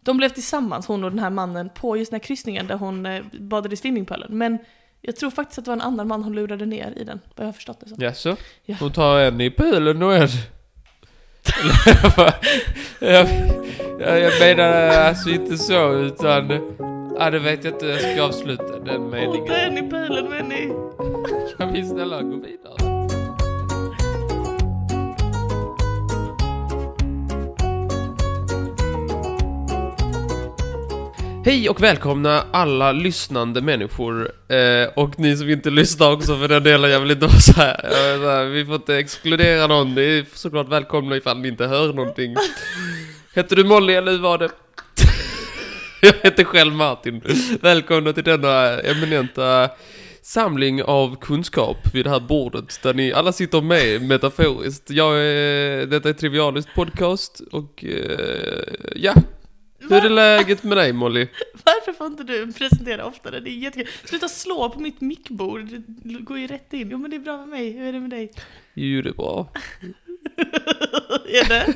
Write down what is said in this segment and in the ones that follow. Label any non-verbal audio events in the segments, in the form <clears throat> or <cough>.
De blev tillsammans, hon och den här mannen, på just den här kryssningen där hon eh, badade i swimmingpoolen. Men jag tror faktiskt att det var en annan man hon lurade ner i den, vad jag har förstått det som. Jaså? Ja. Hon tar en i pölen och en... <laughs> Eller vad? jag, jag, jag menar alltså inte så, utan... Ja, det vet jag inte hur jag ska avsluta den Åh, meningen. den i pölen, men i... Kan vi snälla gå vidare? Hej och välkomna alla lyssnande människor eh, och ni som inte lyssnar också för den delen, jag vill inte vara så här. Jag vill så här. Vi får inte exkludera någon, ni är såklart välkomna ifall ni inte hör någonting. Heter du Molly eller hur var det? <laughs> Jag heter själv Martin. Välkomna till denna eminenta samling av kunskap vid det här bordet där ni alla sitter med metaforiskt. Jag är, detta är Trivialist podcast och eh, ja, hur är det läget med dig Molly? Varför får inte du presentera oftare? Det är jättekul. Sluta slå på mitt mickbord, det går ju rätt in. Jo men det är bra med mig, hur är det med dig? Jo, det är bra. är det?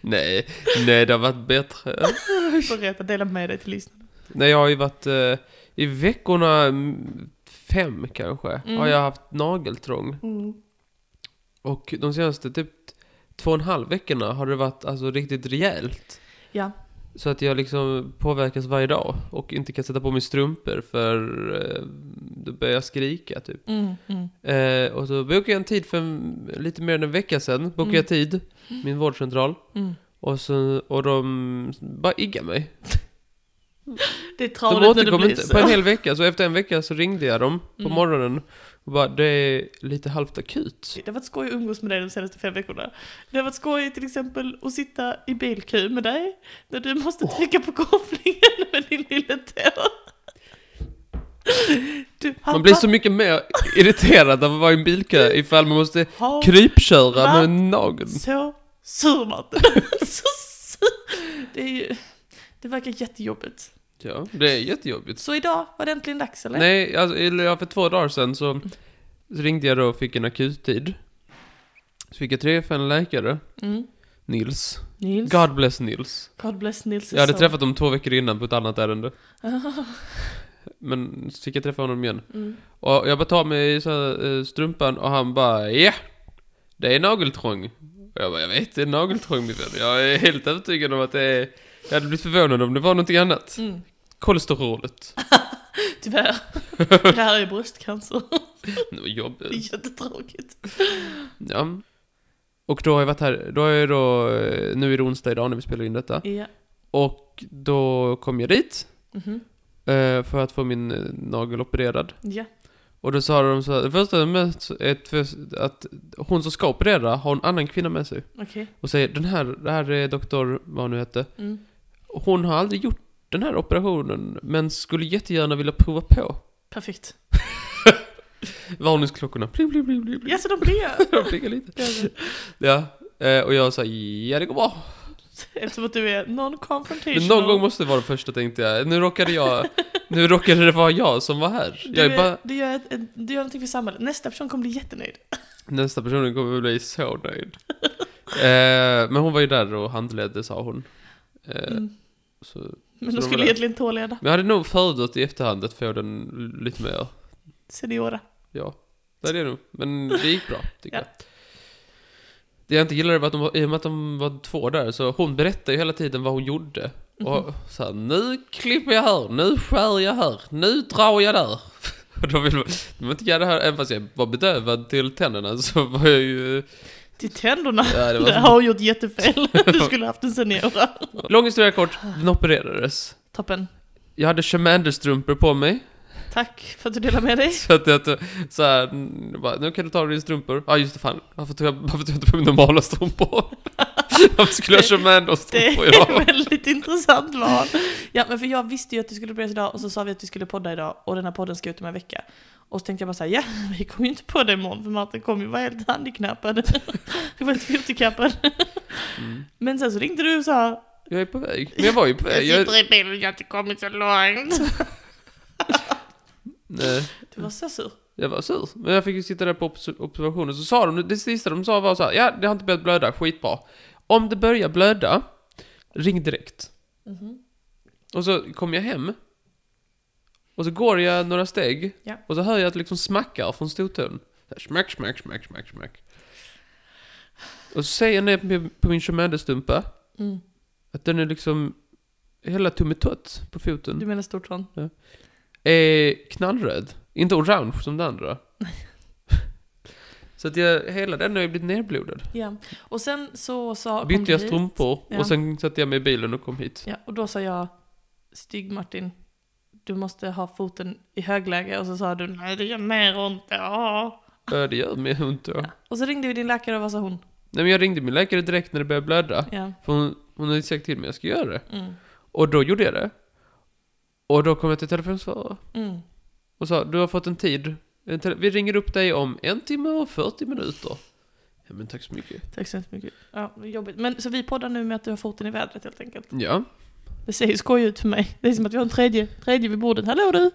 Nej, nej det har varit bättre. Berätta, dela med dig till lyssnarna. Nej, jag har ju varit eh, i veckorna mm, fem kanske Mm. har jag haft nageltrång. Mm. Och de senaste typ två och en halv veckorna har det varit alltså riktigt rejält. Ja. Så att jag liksom påverkas varje dag och inte kan sätta på mig strumpor för eh, då börjar jag skrika typ. Mm, mm. Eh, och så bokade jag en tid för en, lite mer än en vecka sedan, bokade Mm. jag tid, min vårdcentral. Mm. Och, så, och de bara iggar mig. Det är De tradigt när det återkom blir inte på en så. hel vecka, så efter en vecka så ringde jag dem på Mm. morgonen och bara det är lite halvt akut. Det har varit skoj att umgås med dig de senaste fem veckorna. Det har varit skoj till exempel att sitta i bilkö med dig, när du måste trycka på kopplingen med din lille tå. Du, han Man blir bara- så mycket mer irriterad av att vara i en bilkö ifall man måste har krypköra Va? med nageln. Så sur Martin. <laughs> så sur. Det är ju... Det verkar jättejobbigt. Ja, det är jättejobbigt. Så idag var det äntligen dags eller? Nej, alltså, eller ja, för två dagar sedan så så ringde jag då och fick en akuttid. Så fick jag träffa en läkare, Mm. Nils. Nils. God, God bless Nils. bless Nils. Jag hade son. träffat dem två veckor innan på ett annat ärende. Men så fick jag träffa honom igen. <laughs> Mm. Och jag bara tar mig så här, eh, strumpan och han bara ja, det är nageltrång. Och jag bara, jag vet det är nageltrång min vän. Jag är helt övertygad om att det är... Jag hade blivit förvånad om det var någonting annat. Mm. Kolesterolet. <laughs> Tyvärr. det här är bröstcancer. <laughs> Det var Det jobbigt. är jättetråkigt. Ja. Och då har jag varit här, då har jag då, eh, nu är det onsdag idag när vi spelar in detta. Ja. Och då kom jag dit Mhm. eh, för att få min eh, nagel opererad. Ja. Och då sa de så här, det första jag mött är ett för- att hon som ska operera har en annan kvinna med sig. Okej. Och säger, den här, det här är doktor, vad hon nu hette. Mm. Hon har aldrig gjort den här operationen, men skulle jättegärna vilja prova på. Perfekt. Varningsklockorna, pling, pling, pling, pling, pling. Ja, så de blev. De plingar lite. Ja, eh, och jag sa, ja det går bra. <laughs> Eftersom att du är non-confrontational. Men någon gång måste det vara det första tänkte jag. Nu råkade jag, nu råkade det vara jag som var här. du, Jag är bara, du, gör ett, ett, du gör någonting för samhället. Nästa person kommer bli jättenöjd. nästa personen kommer bli så <laughs> nöjd. Eh, men hon var ju där och handledde sa hon. Eh, Mm. så, Men så de de skulle var- egentligen tåleda. men jag hade nog fördött i efterhand att få den lite mer, Seniora. ja. Det hade jag nog, men det gick bra tycker Ja. jag. Det jag inte gillade var att de var, i och med att de var två där, så hon berättade ju hela tiden vad hon gjorde. Och så här, nu klipper jag här, nu skär jag här, nu drar jag där. <laughs> Och då vill man, de vill inte göra det här, även fast jag var bedövad till tänderna så var jag ju... Till tänderna. Ja, <laughs> det Det var, har hon gjort <laughs> jättefel. Du skulle haft en seniora. lång historia kort, den opererades. Toppen. Jag hade Shamander-strumpor på mig. Tack för att du delar med dig. <laughs> Så att jag tog- så här, mm, bara, nu kan du ta dina strumpor. Ja ah, just det, fan. Varför tog jag, varför tog jag inte på mig normala strumpor? <laughs> varför skulle jag ha Det Shamander-strumpor är idag? väldigt intressant val. Ja, men för jag visste ju att du skulle börja idag och så sa vi att vi skulle podda idag och den här podden ska ut om en vecka. Och så tänkte jag bara såhär, ja, <laughs> vi kommer ju inte på det imorgon för Martin kommer ju vara helt handikappad. <laughs> Vi var helt fotikappad. Mm. Men sen så ringde du och sa, Jag är på väg. Men jag var ju på jag väg. Jag, sitter i bilen, jag har inte kommit så långt. nej. Du var så sur. Jag var sur, men jag fick ju sitta där på obs- observationen, så sa de, det sista de sa var så här, ja, det har inte börjat blöda, skitbra. Om det börjar blöda, ring direkt. Mhm. Och så kom jag hem. Och så går jag några steg. Ja. Och så hör jag att det liksom smackar från stortån. Så här, Smack, smack, smack, smack, smack. Och så säger jag ner på- på min Chomandestumpa Mm. att den är liksom hela tummetott Du på foten menar stortån? är knallröd. Inte orange som <laughs> det andra. så att jag, hela den har ju blivit nerblodad. Ja. Och sen så sa... kom Bytte du jag hit. strumpor Ja. och sen satte jag mig i bilen och kom hit. Ja, och då sa jag, Stig Martin, du måste ha foten i högläge. Och så sa du, nej det gör mer ont. Ja. Ja, det gör mig ont då. Ja. Och så ringde vi din läkare och vad sa hon? Nej men jag ringde min läkare direkt när det började blöda. Ja. För hon, hon hade sagt till mig att jag ska göra det. Mm. Och då gjorde jag det. Och då kom jag till telefonsvarare. Mm. Och sa, du har fått en tid. En tele- Vi ringer upp dig om en timme och 40 minuter. Ja men tack så mycket. Tack så hemskt mycket. Ja, vad jobbigt. Men så vi poddar nu med att du har foten i vädret helt enkelt. Ja, Det ser ju skoj ut för mig. Det är som att vi har en tredje, tredje vid bordet. Hallå du!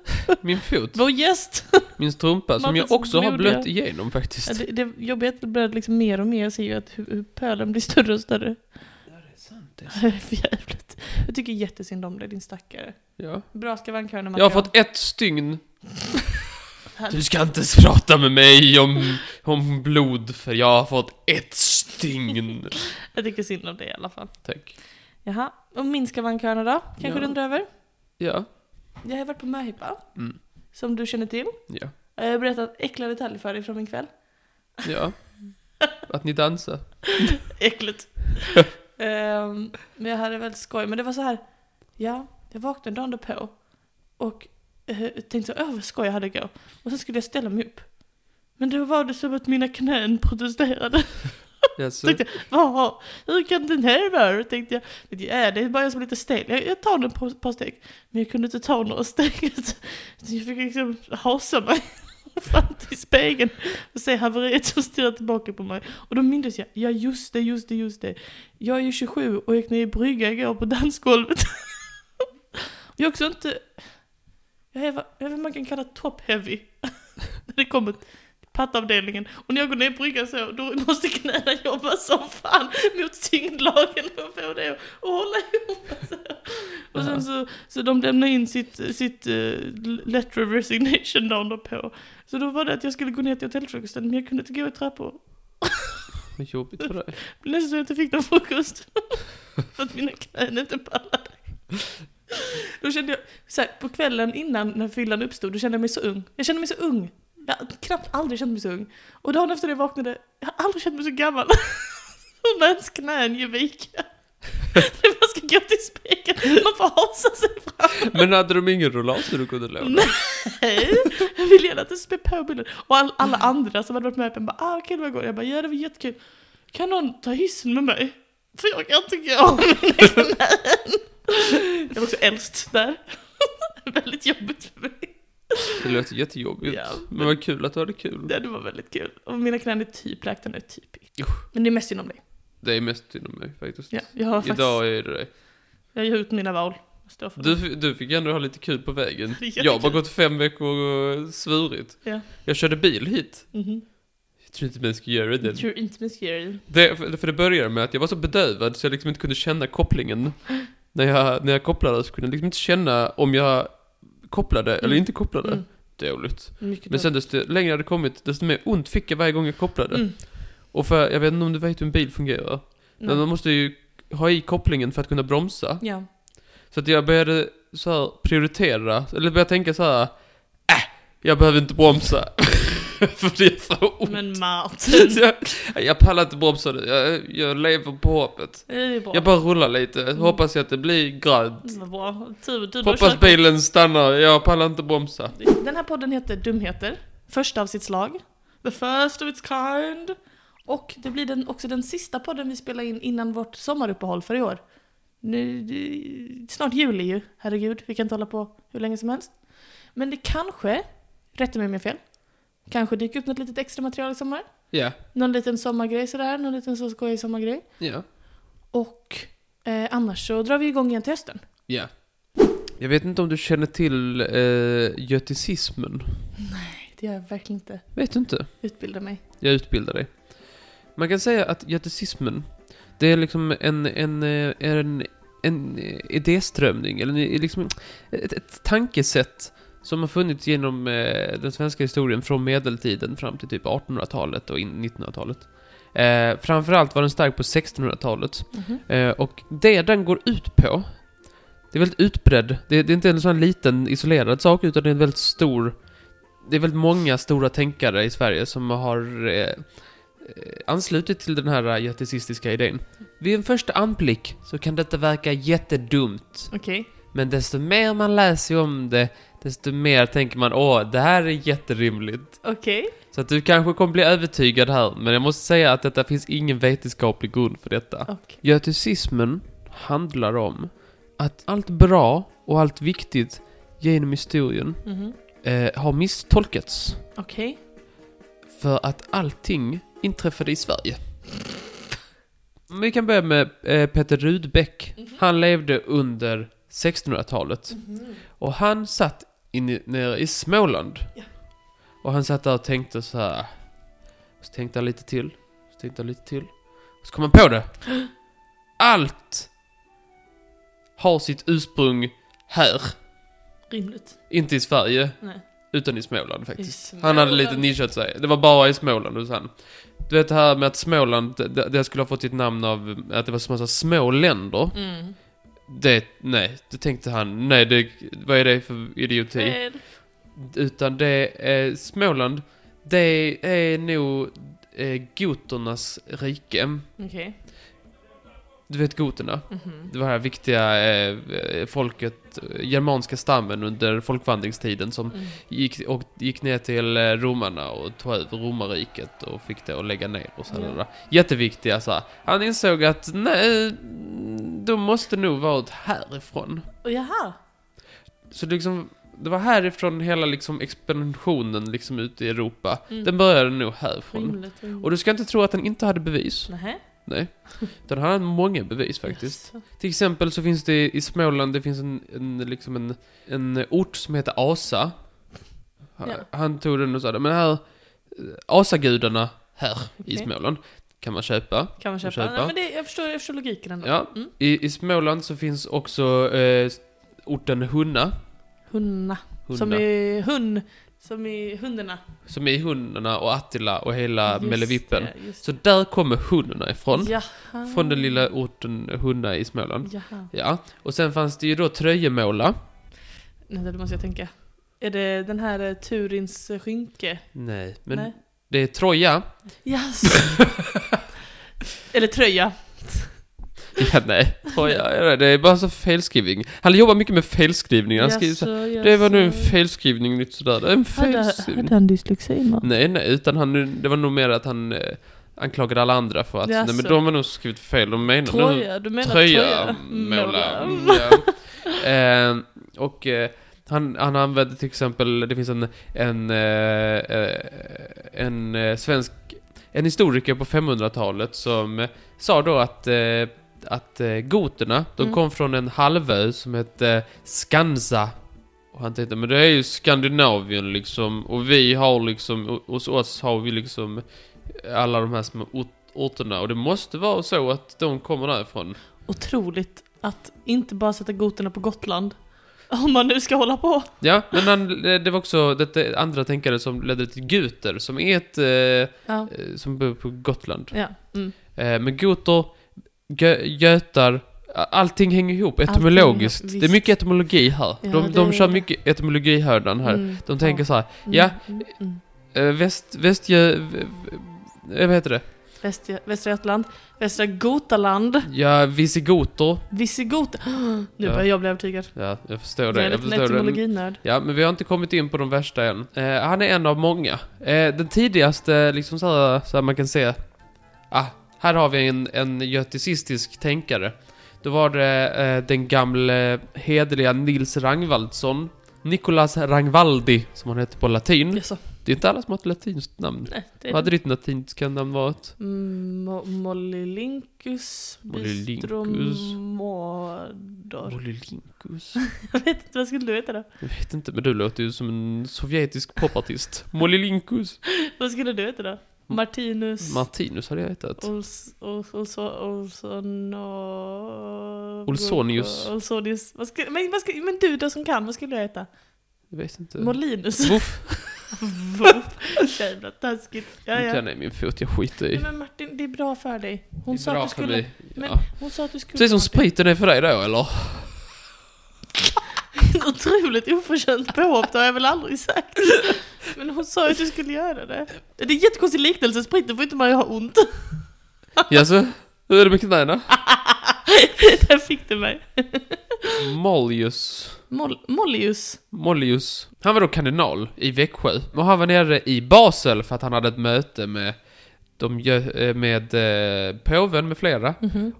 <laughs> min fot, Vår gäst! min strumpa som jag Martins också har blodiga- blött igenom faktiskt. Ja, Det, det jobbiga är att det blir liksom mer och mer. Jag ser ju att hur, hur pölen blir större och större. <laughs> Det är för jävligt. Jag tycker jättesynd om dig, din stackare. Ja. Bra skavankhörna Jag har Mackan. fått ett stygn. Du ska inte prata med mig om, om blod, för jag har fått ett stygn. Jag tycker synd om dig i alla fall. Tack. Jaha, och min skavankhörna då? Kanske Ja. du undrar över? Ja. Jag har varit på möhippa, Mm. som du känner till. Ja. Jag har berättat äckliga detaljer för dig från min kväll. Ja. Att ni dansar. Äckligt. <laughs> Ehm, men jag hade väldigt skoj. Men det var så här. Ja, jag vaknade dagen på och eh, tänkte så, öh vad skoj jag hade igår. Och sen skulle jag ställa mig upp. Men då var det som att mina knän protesterade. Jaså? Tänkte jag, "Vad? hur kan den här vara? Tänkte jag, tänkte jag, "Äh, det är bara jag som är lite stel. Jag, jag tar den på ett par steg. Men jag kunde inte ta några steg. <laughs> Så jag fick liksom hasa mig <laughs> fram till spegeln och se haveriet som stirrar tillbaka på mig. Och då mindes jag, ja just det, just det, just det. Jag är ju 27 och gick ner i brygga igår på dansgolvet. Jag är också inte... Jag är, vad- jag är vad man kan kalla top heavy. <laughs> När det kommer pattavdelningen. Och när jag går ner på bryggan så, då måste knäna jobba som fan mot tyngdlagen och få det att- att hålla ihop. Alltså. Och sen så, så de lämnade in sitt, sitt uh, letter of resignation dagen därpå. Så då var det att jag skulle gå ner till hotellfrukosten, men jag kunde inte gå i trappor. Vad jobbigt för dig. Det blev nästan så att jag inte fick någon frukost. För att mina knän inte pallade. Då kände jag, så här, på kvällen innan när fyllan uppstod, då kände jag mig så ung. Jag kände mig så ung. Jag har knappt aldrig känt mig så ung. Och dagen efter det vaknade, jag har aldrig känt mig så gammal. <laughs> Och när ens knän gör vika. När man ska gå till spegeln, man får hasa sig fram. Men hade de ingen rollator du kunde låna? Nej, jag vill gärna att du spär på bilden. Och all, alla Mm. andra som hade varit med på den bara ah kul vad går det?" Jag bara ja det var jättekul. Kan någon ta hissen med mig? För jag kan inte gå <laughs> av mina knän. Jag var också äldst där. <laughs> väldigt jobbigt för mig. Det lät jättejobbigt. Ja. Men vad kul att du hade kul. Ja, det var väldigt kul. Och mina knän är typ läkta nu, typ. Men det är mest inom dig. Det är mest inom mig faktiskt. Ja, jag har faktiskt, Idag är det det. jag gör ut mina val. Jag står för det. Du, du fick ändå ha lite kul <laughs> på vägen. Det är Jag har bara jättekul. gått fem veckor och svurit. Ja. Jag körde bil hit. Mhm. Jag tror inte man ska göra det. You're inte med scary. Det, för för det började med att jag var så bedövad så jag liksom inte kunde känna kopplingen. När jag, när jag kopplade så kunde jag liksom inte känna om jag kopplade eller Mm. inte kopplade. Mm. Dåligt. Mycket Men sen desto längre jag hade kommit, desto mer ont fick jag varje gång jag kopplade. Mm. Och för, jag vet inte om du vet hur en bil fungerar. Men man måste ju ha i kopplingen för att kunna bromsa. Ja. Så att jag började så här prioritera, eller började tänka så här. Äh, jag behöver inte bromsa. <laughs> för det är för ont. Men <laughs> Martin. Så jag, jag pallar inte bromsa nu, jag, jag lever på hoppet. Det är bra. Jag bara rullar lite, hoppas jag att det blir grönt. Det var bra. Tur, tur Mm. du har Hoppas kört bilen stannar, jag pallar inte bromsa. typ- Den här podden heter Dumheter, första av sitt slag. The first of its kind. Och det blir den, också den sista podden vi spelar in innan vårt sommaruppehåll för i år. Nu, det, snart juli ju, herregud. Vi kan inte hålla på hur länge som helst. Men det kanske, rätta mig om jag har fel, kanske dyker upp något litet extra material i sommar. Ja, Någon liten sommargrej sådär, någon liten så skojig sommargrej. ja, Och eh, annars så drar vi igång igen till hösten. ja. Jag vet inte om du känner till eh, göticismen? Nej, det gör jag verkligen inte. Vet du inte? Utbilda mig. Jag utbildar dig. Man kan säga att göticismen, det är liksom en, en, eh, en, en eh, idéströmning, eller en, liksom ett, ett tankesätt som har funnits genom eh, den svenska historien från medeltiden fram till typ 1800-talet och in 1900-talet. Eh, framförallt var den stark på 1600-talet. Mhm. Eh, och det den går ut på, det är väldigt utbredd. Det, det är inte en sån här liten isolerad sak, utan det är en väldigt stor... Det är väldigt många stora tänkare i Sverige som har eh, eh, anslutit till den här göticistiska idén. Vid en första anblick så kan detta verka jättedumt. Okej. Men desto mer man läser om det, desto mer tänker man åh, det här är jätterimligt. Okej. Så att du kanske kommer bli övertygad här, men jag måste säga att detta finns ingen vetenskaplig grund för detta. Och- Göticismen handlar om att allt bra och allt viktigt genom historien mhm. eh, har misstolkats. Okej. För att allting inträffade i Sverige. Men Vi kan börja med eh, Peter Rudbeck. Han levde under 1600-talet. Mhm. Och han satt in, nere i Småland. Ja. Och han satt där och tänkte så här. Så tänkte han lite till. Så tänkte han lite till. Och så kom han på <gasps> det. Allt har sitt ursprung här. Rimligt. Inte i Sverige, Nej. utan i Småland faktiskt. I Han hade lite Småland. nischat sig. Det var bara i Småland hos han. Du vet det här med att Småland, det, det skulle ha fått sitt namn av att det var så massa små länder. Mm. Det, nej, det tänkte han. Nej, det, vad är det för idioti? Fred. Utan det är Småland, det är nog eh, goternas rike. Okej. Du vet goterna? Mhm. Det var det här viktiga eh, eh, folket, eh, germanska stammen under folkvandringstiden som Mm. gick, och gick ner till eh, romarna och tog över romarriket och fick det att lägga ner och sådär. Ja. Jätteviktiga så här. Han insåg att nej, de måste nog vara ut härifrån. Och jaha. Så det liksom, det var härifrån hela liksom expansionen liksom ute i Europa. Mm. Den började nog härifrån. Rimligt. rimligt. Och du ska inte tro att han inte hade bevis. Nähä. Nej. Utan han hade många bevis faktiskt. Jaså. Till exempel så finns det i Småland, det finns en, en, liksom en, en ort som heter Asa. Han, Ja. han tog den och sa, men här, eh, Asagudarna här i Okej. Småland kan man köpa. Kan man köpa? köpa. Nej, men det, jag, förstår, jag förstår logiken ändå. Ja. Mm. I, i Småland så finns också eh, orten Hunna. Hunna. Hunna. Som är hund. Som är hundarna. som är hundarna och Attila och hela Just Mellevippen. det, just Så där kommer hundarna ifrån. Jaha. Från den lilla orten Hunna i Småland. Jaha. Ja, och sen fanns det ju då Tröjemåla. Nej, det måste jag tänka. Är det den här eh, Turins eh, skynke? Nej, men Nej. det är Troja. Jaså. Eller tröja. <laughs> Ja, nej. Oj, ja, ja, det är bara så felskrivning. Han jobbar mycket med felskrivning. Han skriver så här, Jaså, det var nu en jaså. felskrivning, nytt sådär. Det är En Hade, felskrivning. hade han dyslexi man? Nej, nej, utan han, det var nog mer att han eh, anklagade alla andra för att, nej men Jaså. de har nog skrivit fel, de menar nog Tröja? Du menar tröja? måla. Mm. Mm, ja. eh, och eh, han, han använde till exempel, det finns en, en, eh, eh, en eh, svensk, en historiker på 500-talet som eh, sa då att, eh, att eh, goterna, de Mm. kom från en halvö som hette Skansa. Och han tänkte, men det är ju Skandinavien liksom, och vi har liksom, och- hos oss har vi liksom alla de här små ort- orterna, och det måste vara så att de kommer därifrån. Otroligt att inte bara sätta goterna på Gotland. <laughs> Om man nu ska hålla på. Ja, men han, det var också detta andra tänkare som ledde till guter, som är ett... Eh, Ja. som bor på Gotland. ja. Mm. Eh, men goter, gö, götar, allting hänger ihop Allting etymologiskt. hänger- det är mycket etymologi här. Ja, de, det de är kör det. mycket etymologihördan här. Mm. De tänker Ja. så här, Mm, ja. mm, mm. eh, väst, västgö... v- v- eh, Vad heter det? Västra, Västra Götaland, Västra Gotaland, Ja, visigoter. Visigot. <gasps> Nu Ja. börjar jag bli övertygad. Ja, jag förstår Jag det. är Jag lite förstår det. etymologinörd. Ja, men vi har inte kommit in på de värsta än. Eh, han är en av många. Eh, den tidigaste, liksom så här, så här man kan se... Ah, här har vi en, en göticistisk tänkare. Då var det eh, den gamle hederliga Nils Rangvaldsson. Nicolas Rangvaldi, som han hette på latin. Jaså, Det är inte alla som har ett latinskt namn. nej, det är Mm. det. Vad hade ditt latinska namn varit? Mm, Mo- Mollilinkus, Mollilinkus. Bistromodor. Molilinkus. Jag vet inte, vad skulle du heta då? Jag <laughs> vet inte, men du låter ju som en sovjetisk popartist. Molilinkus. Mm. Vad skulle du heta då? Martinus. Martinus hade jag hetat. Ols, Ols, Ols, Olsson och... Olsonius. Olsonius. Vad ska, men, vad ska, men du då som kan, vad skulle jag heta? Jag vet inte. Molinus. <laughs> Voff. Jävla taskigt. Ja, Nu ja. känner jag min fot, jag skiter i. Nej, men Martin, det är bra för dig. Hon, Det är sa bra att, du för skulle, mig. men- Ja. hon sa att du skulle... Precis som Martin. spriten är för dig då eller? <laughs> Otroligt oförtjänt påhopp, det har jag väl aldrig <laughs> sagt. Men hon sa ju att du skulle göra det. Det är en jättekonstig liknelse, spriten får inte man ju ha ont. <laughs> Jaså? Hur är det med knäna? Där fick du mig. Ah. Mollius. Mol- Mollius. Mollius. Han var då kardinal i Växjö. Och han var nere i Basel för att han hade ett möte med, de, gö- eh, med eh, påven med flera. Mhm.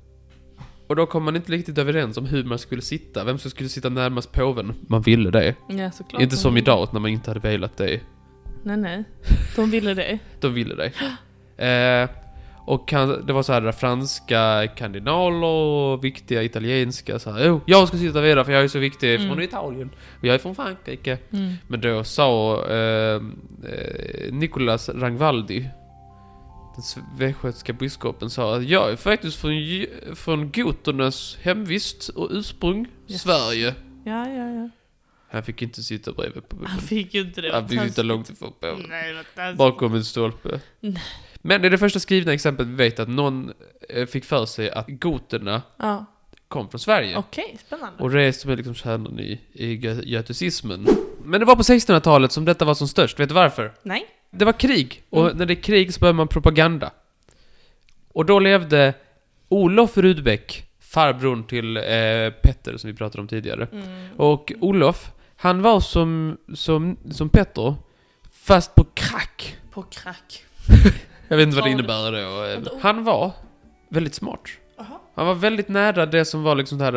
Och då kom man inte riktigt överens om hur man skulle sitta, vem som skulle sitta närmast påven. Man ville det. Ja, såklart. inte som idag när man inte hade velat det. Nej, nej. De ville det. De ville det. Eh, och kan, det var så här franska kardinaler och viktiga italienska så här, oh, jag ska sitta vidare för jag är så viktig jag är från Mm. Italien. Och jag är från Frankrike. Men då sa eh, eh, Nicolas Rangvaldi, den s- västgötska biskopen, sa att jag är faktiskt från, Ju- från goternas hemvist och ursprung, Yes. Sverige. Ja, ja, ja. Han fick inte sitta bredvid på Han fick ju inte det. Han fick sitta långt ifrån på Nej, vad taskigt. bakom en stolpe. Nej. Men i det första skrivna exemplet vi vet att någon eh, fick för sig att goterna Ja, kom från Sverige. okej, spännande. Och det är som är liksom kärnan i, i gö- göticismen. Men det var på 1600-talet som detta var som störst, vet du varför? Nej. Det var krig, och Mm. när det är krig så behöver man propaganda. Och då levde Olof Rudbeck, farbrorn till eh, Petter som vi pratade om tidigare. Mm. Och Olof, han var som, som, som Petter, fast på crack. På crack. Jag vet inte vad det Har du- innebär då. Eh, Vänta, o- Han var väldigt smart. Jaha. Han var väldigt nära det som var liksom det här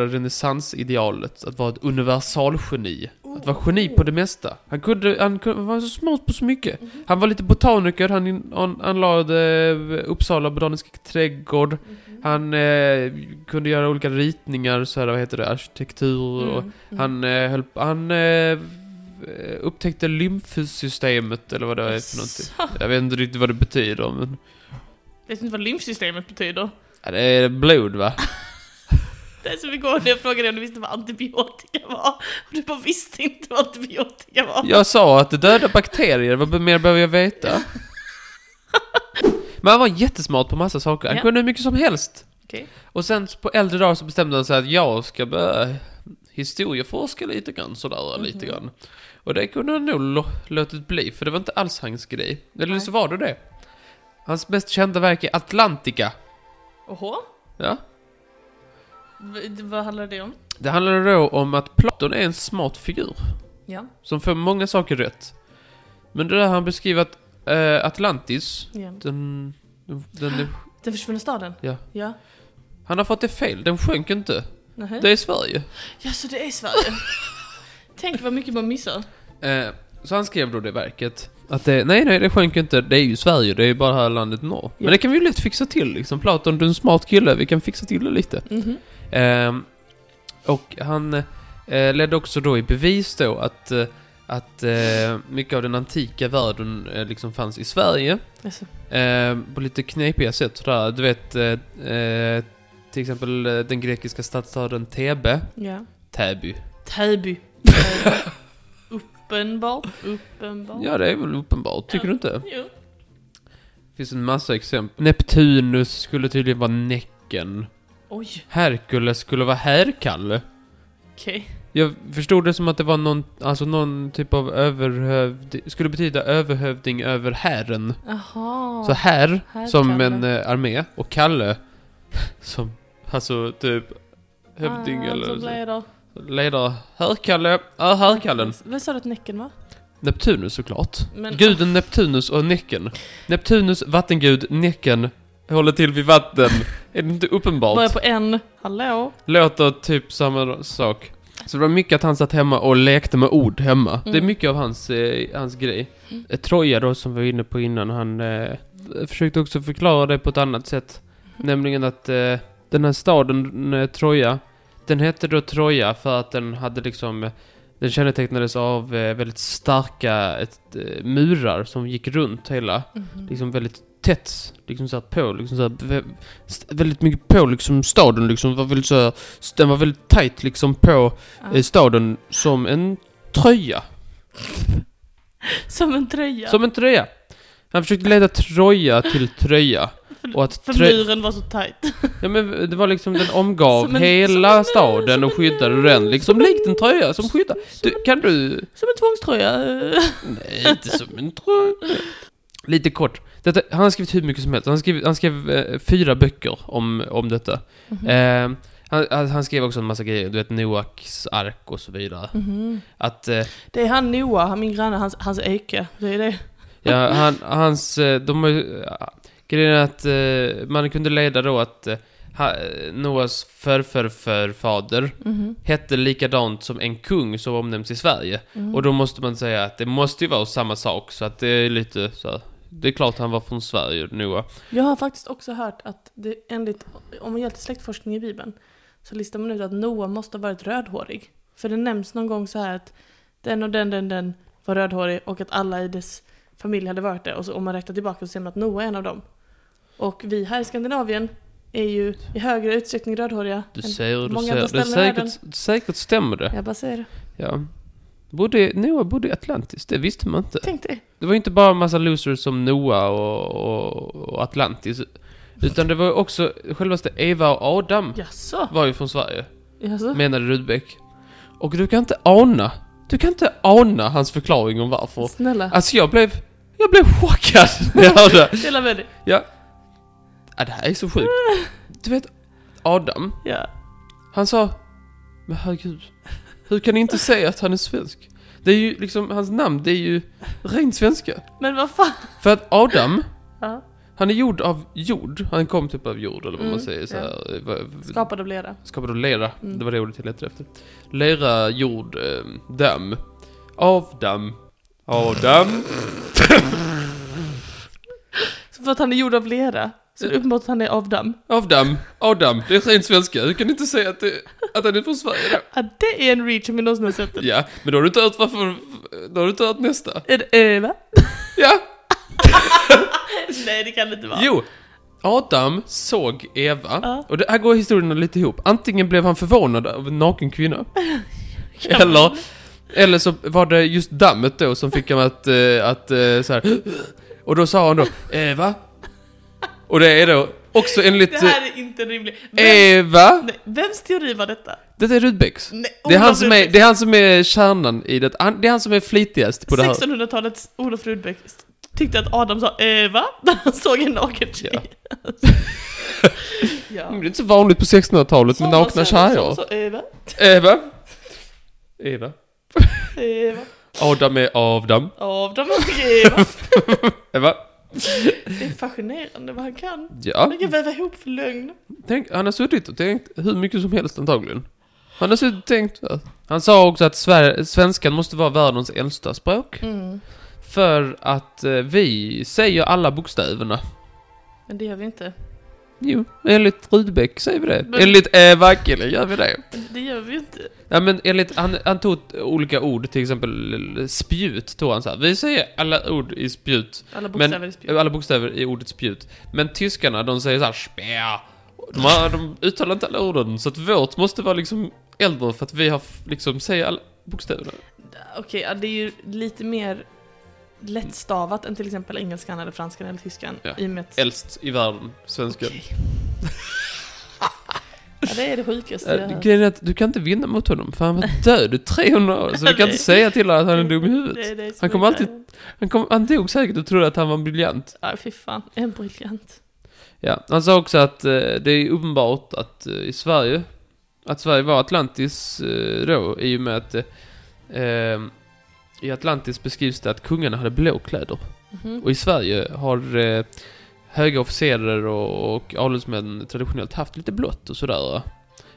renässansidealet, att vara ett universalgeni. Att vara geni på det mesta. Han kunde, han kunde, han var så smart på så mycket. Mhm. Han var lite botaniker, han, in- han, han lade eh, Uppsala botaniska trädgård. Mhm. Han eh, kunde göra olika ritningar, så här, vad heter det, arkitektur och Mm, mm. han, eh, höll, han eh, upptäckte lymfsystemet eller vad det är för någonting. Så. Jag vet inte riktigt vad det betyder men... Jag vet inte vad lymfsystemet betyder. Ja, Det är blod va? Det är som igår när jag frågade dig om du visste vad antibiotika var. Och du bara visste inte vad antibiotika var. Jag sa att det döda bakterier, vad be- mer behöver jag veta? Men han var jättesmart på massa saker, han Ja. kunde hur mycket som helst. Okej. Och sen på äldre dagar så bestämde han sig att jag ska börja historieforska lite grann sådär, Mhm. lite grann. Och det kunde han nog lo- låtit bli, för det var inte alls hans grej. Eller Nej. så var det det. Hans mest kända verk är Atlantica. Oho. Ja. V- vad handlar det om? Det handlar då om att Platon är en smart figur. Ja. Som får många saker rätt. Men det där han beskriver att eh, Atlantis, ja. Den, den, Den försvunna staden? Ja. Ja. han har fått det fel, den sjönk inte. Nähä. Det är Sverige. Ja, så det är <laughs> Sverige. Tänk vad mycket man missar. Eh, så han skrev då det verket. Att det, nej, nej, det sjönk inte. Det är ju Sverige, det är ju bara här landet norr. Men det kan vi ju lätt fixa till liksom. Platon, du är en smart kille, vi kan fixa till det lite. Mhm. Ehm, och han eh, ledde också då i bevis då att, eh, att eh, mycket av den antika världen eh, liksom fanns i Sverige. Alltså. Eh, på lite knepiga sätt sådär. Du vet, eh, eh, till exempel eh, den grekiska stadsstaden Thebe. Ja. Täby. <laughs> Täby. uppenbart. Uppenbart. Ja, det är väl uppenbart, tycker Ja. du inte? Jo. Det finns en massa exempel. Neptunus skulle tydligen vara Näcken. Oj, Herkules skulle vara Härkalle. okej. Jag förstod det som att det var någon, alltså någon typ av överhövding, skulle betyda överhövding över hären. Jaha. Så här, som Härkalle. en eh, armé, och Kalle, <laughs> som, alltså typ, hövding Ah, eller så så. blev det. Ledare, Härkalle, ja Härkallen. Vem sa du att Näcken var? Neptunus såklart. Men- Guden Neptunus och Näcken. Neptunus, vattengud, Näcken håller till vid vatten. Är det inte Bara uppenbart? på en. Hallå? Låter typ samma sak. Så det var mycket att han satt hemma och lekte med ord hemma. Det är mycket av hans, eh, hans grej. Eh, Troja då, som vi var inne på innan, han eh, försökte också förklara det på ett annat sätt. Nämligen att eh, den här staden eh, Troja, den hette då Troja för att den hade liksom eh, den kännetecknades av Mhm. eh, väldigt starka ett, eh, murar som gick runt hela. Liksom väldigt tätt liksom så här, på, liksom så här, vä- st- väldigt mycket på liksom staden liksom. Var väldigt, så här, s- den var väldigt tight liksom på eh, Ja. staden som en tröja. Som en tröja. Som en tröja. Han försökte leda tröja till tröja. Och att För trö- muren var så tajt. Ja men det var liksom, den omgav Som en- hela som en- staden som och en- skyddade den. Liksom som en- likt en tröja som skyddar. Du, kan du... Som en tvångströja. Nej, inte som en tröja. Lite kort. Detta, han har skrivit hur mycket som helst. Han skrev, han skrev eh, fyra böcker om, om detta. Eh, han, han- han skrev också en massa grejer, du vet Noaks ark och så vidare. Mhm. Att, eh, Det är han Noah, han min granne, hans, hans eke. Det är det. ja, han, hans, eh, de har ju- ja, Grejen är att eh, man kunde leda då att eh, ha- Noas förförförfader Mhm. hette likadant som en kung som omnämns i Sverige. Mhm. Och då måste man säga att det måste ju vara samma sak, så att det är lite så här, Det är klart han var från Sverige, Noah. Jag har faktiskt också hört att det, enligt, om man gör lite släktforskning i Bibeln, så listar man ut att Noa måste ha varit rödhårig. För det nämns någon gång så här att den och den, den, den var rödhårig och att alla i dess familj hade varit det. Och så, om man räknar tillbaka så ser man att Noa är en av dem. Och vi här i Skandinavien är ju i högre utsträckning rödhåriga. Du än- ser, du många ser. andra Det ställen i säkert, säkert stämmer det. Jag bara säger det. Ja. Bodde, Noah bodde i Atlantis, det visste man inte. Tänk dig. Det var ju inte bara en massa losers som Noah och, och, och Atlantis. Utan det var ju också, självaste Eva och Adam Jaså? var ju från Sverige, Jaså? menade Rudbeck. Och du kan inte ana, du kan inte ana hans förklaring om <laughs> varför. Snälla. Alltså jag blev, jag blev chockad när jag hörde. Dela med dig. Ja, det här är så sjukt. Du vet, Adam, Ja. han sa, men herregud, hur kan ni inte säga att han är svensk? Det är ju liksom, hans namn, det är ju ren svenska. Men vad fan. För att Adam, Ja. han är gjord av jord, han kom typ av jord eller vad Mm, man säger så här, eh, vad- Skapad av lera. skapad av lera, Mm. det var det ordet jag letade efter. Lera, jord, eh, damm. Avdamm. Adam. Så för att han är gjord av lera. Så är det uppenbart att han är av damm. Avdamm. Adam. Det är ren svenska, hur kan ni inte säga att, det, att han är från Sverige då? Ja, det är en reach om jag någonsin har sett den. Ja, men då har du inte hört varför, då har du inte hört nästa. Är det, eh, va? Ja, Nej, det kan det inte vara. jo. Adam såg Eva, Ja. och det här går historierna lite ihop. Antingen blev han förvånad av en <laughs> naken kvinna, Kan man- eller, eller så var det just dammet då som fick honom att, eh, att eh, så här. Och då sa han då, Eva? Och det är då också enligt Det eh, här är inte rimligt. Vem, Eva? nej, vems teori var detta? Det är Rudbecks. Nej, Det är, han Olof som är, Rudbecks. det är han som är kärnan i det, han, det är han som är flitigast på det här. 1600-talets Olof Rudbeck tyckte att Adam sa eh, va? <laughs> När han såg en naken tjej. Det <laughs> Ja. är inte så vanligt på 1600-talet Mm, med Som man nakna säger, tjejer. som- så, eh, va? Eva? Eva? Eh, va? Adam är Avdam. Av dem, eh, <laughs> va? Eva? Det är fascinerande vad han kan. Ja. Han kan väva ihop för lögn. Tänk, han har suttit och tänkt hur mycket som helst antagligen. Han har suttit och tänkt. ja. Han sa också att Sver- svenskan måste vara världens äldsta språk. Mm. För att eh, vi säger alla bokstäverna. Men det gör vi inte. Jo, enligt Rudbeck säger vi det. Men- Enligt Eva Kille gör vi det. Det gör vi ju inte. Ja men enligt, han, han tog olika ord, till exempel spjut tog han så här. Vi säger alla ord i spjut. Alla bokstäver är spjut. Alla bokstäver i ordet spjut. Men tyskarna, de säger så här spär. De, har, de uttalar inte alla orden, så att vårt måste vara liksom äldre för att vi har f- liksom säger alla bokstäverna. Okej, ja, det är ju lite mer lättstavat än till exempel engelskan eller franskan eller tyskan. Ja. I och med att... Äldst i världen, svenska. Okej. <laughs> ja, det är det sjukaste jag har Äh, hört. grejen är att du kan inte vinna mot honom, för han var död i 300 år, så du kan inte säga till honom att han är dum i Det huvudet. är det som Han är kommer alltid- värre. Han, kom, han dog säkert och trodde att han var briljant. Ja, fy fan. En briljant. Ja, han sa också att eh, det är uppenbart att eh, i Sverige, att Sverige var Atlantis eh, då, i och med att eh, eh, i Atlantis beskrivs det att kungarna hade blå kläder. Mhm. Och i Sverige har eh, höga officerer och, och adelsmän traditionellt haft lite blått och sådär. Att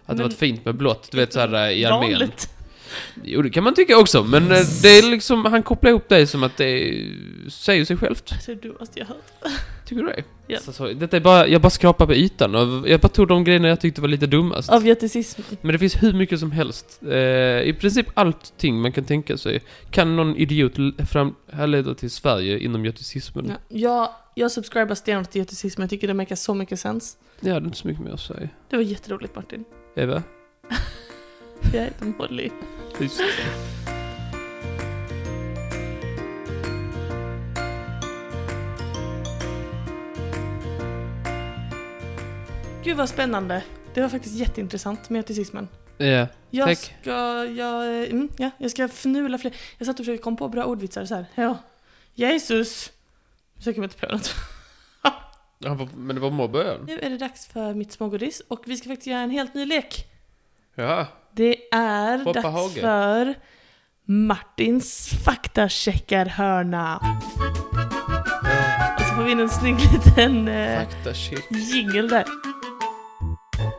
Men- det varit fint med blått, du vet såhär eh, i armén. Vanligt. <laughs> Jo, det kan man tycka också, men eh, det är liksom, han kopplar ihop det som att det är, säger sig självt. Det är det dummaste jag har hört. Tycker du det? Ja. Så, så, detta är bara, jag bara skrapar på ytan och jag bara tog de grejerna jag tyckte var lite dummast. Av göticism. Men det finns hur mycket som helst. Eh, I princip allting man kan tänka sig kan någon idiot l- fram härleda till Sverige inom göticismen. Ja. Jag jag subscribar stenhårt till göticism, jag tycker det makar så mycket sens. Jag hade inte så mycket mer att säga. Det var jätteroligt Martin. Eva? Jag heter Molly. Tyst. Gud vad spännande. Det var faktiskt jätteintressant med göticismen. Ja. Jag Tack. ska, jag, eh, mm, ja, jag ska fnula fler. Jag satt och försökte komma på bra ordvitsar så här. Ja. Jesus. Nu försöker jag inte på något. Ja, vad- Men det var mobbön? Nu är det dags för mitt smågodis och vi ska faktiskt göra en helt ny lek. Ja. Det är Hoppa dags hage. för Martins faktacheckarhörna. Och så får vi in en snygg liten eh, Fakta shit. jingle där.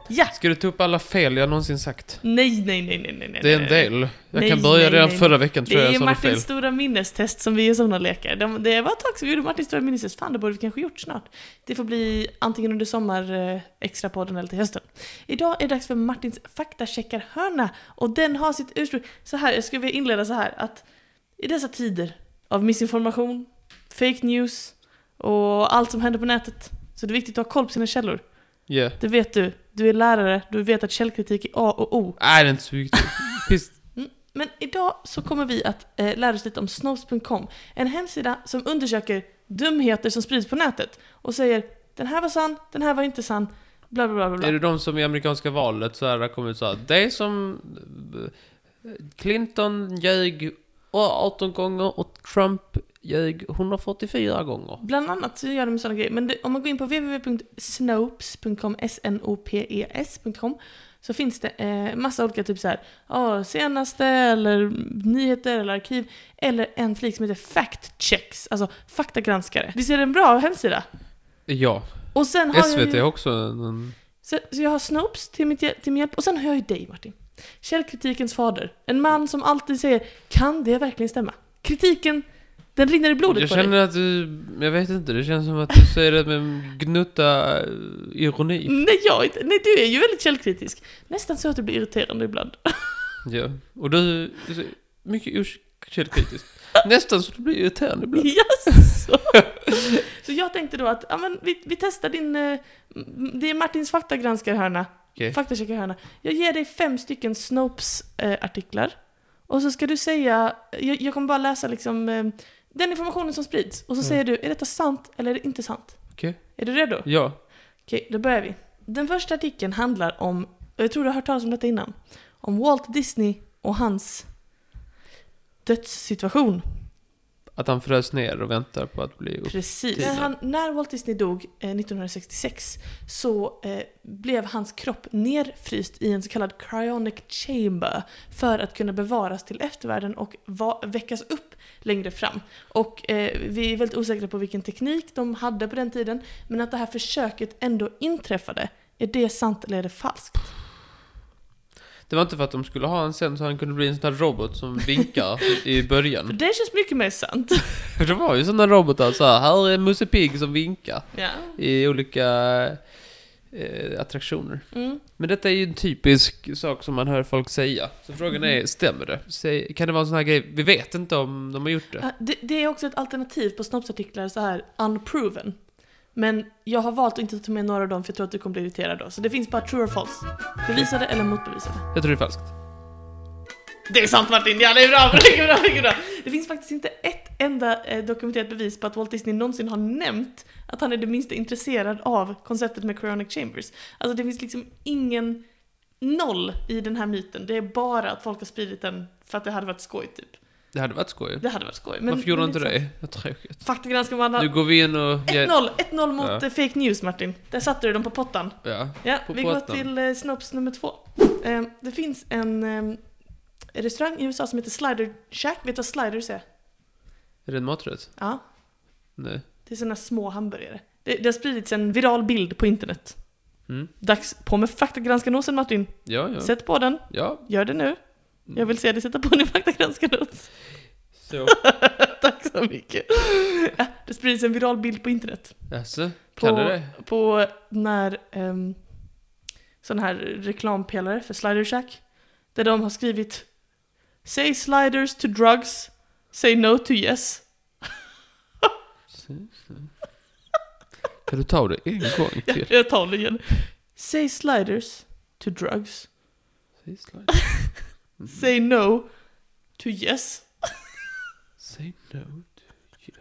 Ja! Ska du ta upp alla fel jag någonsin sagt? Nej, nej, nej, nej, nej. nej, Det är en nej. del. Jag Nej, kan börja nej, redan nej. förra veckan tror Det jag är jag sa något Martins fel. stora minnestest som vi gör sådana lekar. De, det var ett tag sedan vi gjorde Martins stora minnestest. Fan, det borde vi kanske gjort snart. Det får bli antingen under sommar eh, extrapodden eller till hösten. Idag är det dags för Martins faktacheckarhörna och den har sitt ursprung. Så här, jag skulle vilja inleda så här att i dessa tider av missinformation, fake news och allt som händer på nätet så är det viktigt att ha koll på sina källor. Ja. Det vet du. Du är lärare. Du vet att källkritik är A och O. Nej, det är inte så viktigt. Piss. Men idag så kommer vi att eh, lära oss lite om snopes.com. En hemsida som undersöker dumheter som sprids på nätet och säger den här var sann, den här var inte sann, bla bla bla. bla, Är bla. det de som i amerikanska valet så här har kommit så här, det som eh, Clinton ljög 18 gånger och Trump ljög 144 gånger. Bland annat så gör de sådana grejer. Men det, om man går in på www.snopes.com, E S-N-O-P-E-S.com så finns det eh, massa olika typ så här, ja, senaste eller nyheter eller arkiv eller en flik som heter fact checks, alltså faktagranskare. Visst är det en bra hemsida? Ja, Och sen har jag SVT ju... också. En, Så, så jag har Snopes till, mitt, hjäl- till min hjälp, och sen har jag ju dig Martin. Källkritikens fader. En man som alltid säger “Kan det verkligen stämma?” Kritiken, den rinner i blodet jag på dig. känner att du, jag vet inte, det känns som att du säger det med en gnutta eh, ironi. Nej, jag, är inte- nej, du är ju väldigt källkritisk. Nästan så att du blir irriterande ibland. Ja. Och du, du är mycket okällkritisk. Nästan så du blir <laughs> irriterande ibland. Jaså? så jag tänkte då att ja, men vi, vi testar din... eh, m- Det är Martins faktagranskar Okej. faktacheckarhörna. Jag ger dig fem stycken Snopes-artiklar. och så ska du säga, jag, jag kommer bara läsa liksom eh, den informationen som sprids. Och så Mm. säger du, är detta sant eller är det inte sant? Okej. Är du redo? Ja. Okej, då börjar vi. Den första artikeln handlar om, och jag tror du har hört talas om detta innan, om Walt Disney och hans dödssituation. Att han frös ner och väntar på att bli upp. Precis. tiden. När, han, när Walt Disney dog eh, 1966 så eh, blev hans kropp nerfryst i en så kallad cryonic chamber för att kunna bevaras till eftervärlden och va- väckas upp längre fram. Och eh, vi är väldigt osäkra på vilken teknik de hade på den tiden, men att det här försöket ändå inträffade, är det sant eller är det falskt? Det var inte för att de skulle ha en sen så han kunde bli en sån här robot som vinkar i För <laughs> början. det känns mycket mer sant. För det var ju såna robotar så här, här är Musse Pigg som vinkar ja. i olika eh, attraktioner. mm. Men detta är ju en typisk sak som man hör folk säga. Så frågan är, stämmer det? Säg, kan det vara en sån här grej, vi vet inte om de har gjort det. Ja, Det, det är också ett alternativ på snoppsartiklar så här unproven. Men jag har valt att inte ta med några av dem för jag tror att du kommer bli irriterad då. Så det finns bara true or false. Bevisade eller motbevisade. Jag tror det är falskt. Det är sant Martin! Ja, det är bra! <laughs> Det, är bra, det, är bra. det finns faktiskt inte ett enda eh, dokumenterat bevis på att Walt Disney någonsin har nämnt att han är det minsta intresserad av konceptet med cryonic chambers. Alltså det finns liksom ingen noll i den här myten. Det är bara att folk har spridit den för att det hade varit skoj typ. Det hade varit skoj. Det hade varit skoj. Men, Varför gjorde men de inte är det? Vad tråkigt. sant. Faktagranskar man Nu går vi in och... 1-0, 1-0 mot Ja. eh, fake news Martin. Där satte du dem på pottan. Ja. Ja, På vi går pottan. till eh, snops nummer två. Eh, det finns en eh, restaurang i USA som heter Slider Shack. Vet du vad sliders är? Är det en maträtt? Ja, Nej. det är sådana små hamburgare. Det, det har spridits en viral bild på internet. Mm. Dags på med faktagranskanosen Martin. Ja, ja. Sätt på den, Ja. gör det nu. Mm. Jag vill se dig sätta på din faktagranskanos. Så. <laughs> Tack så mycket. Ja, det sprids en viral bild på internet. Jaså? På, Kan du det? på när um, sån här reklampelare för Slider Shack. Där de har skrivit Say sliders to drugs, say no to yes. Kan du ta det en gång till? Jag tar det igen. Say sliders to drugs. Say slide. Say no to yes. Say no to you.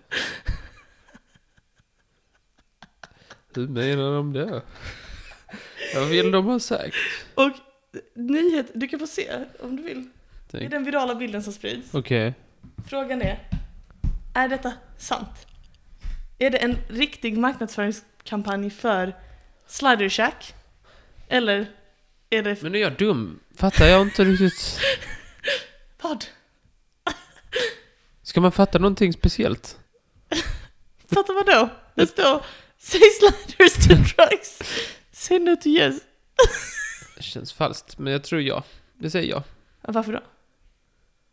Hur menar de det? Vad vill de ha sagt? Och nyhet, du kan få se om du vill. Det är Tänk. den virala bilden som sprids. Okej. Frågan är, är detta sant? Är det en riktig marknadsföringskampanj för Slider Shack? Eller är det... Men är jag dum? Fattar jag inte riktigt? Vad? Ska man fatta någonting speciellt? Fattar vad då? Det står Say sliders to drugs. Say no to yes. <laughs> Det känns falskt, men jag tror ja. Det säger jag. Ja, Varför då?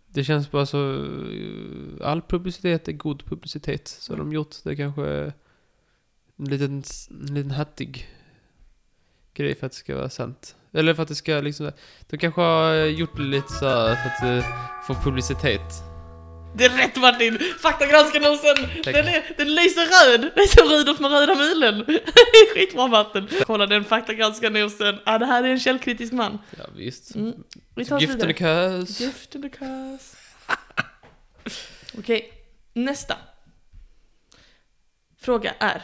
Det känns bara så... eh, All publicitet är god publicitet. Så har de gjort det kanske... är En liten, en liten hattig grej för att det ska vara sant. Eller för att det ska liksom... De kanske har eh, gjort det lite så här för att eh, få publicitet. Det är rätt Martin! Faktagranskarnosen! Tack. Den, är, den lyser röd! Det är som Rudolf med röda mulen! <laughs> Det är Skitbra Martin! Kolla den faktagranskarnosen! Ja, det här är en källkritisk man. Ja, visst. Mm. Vi tar oss Gift and vidare. a curse. Gift and a curse. <laughs> Okej, nästa. Fråga är.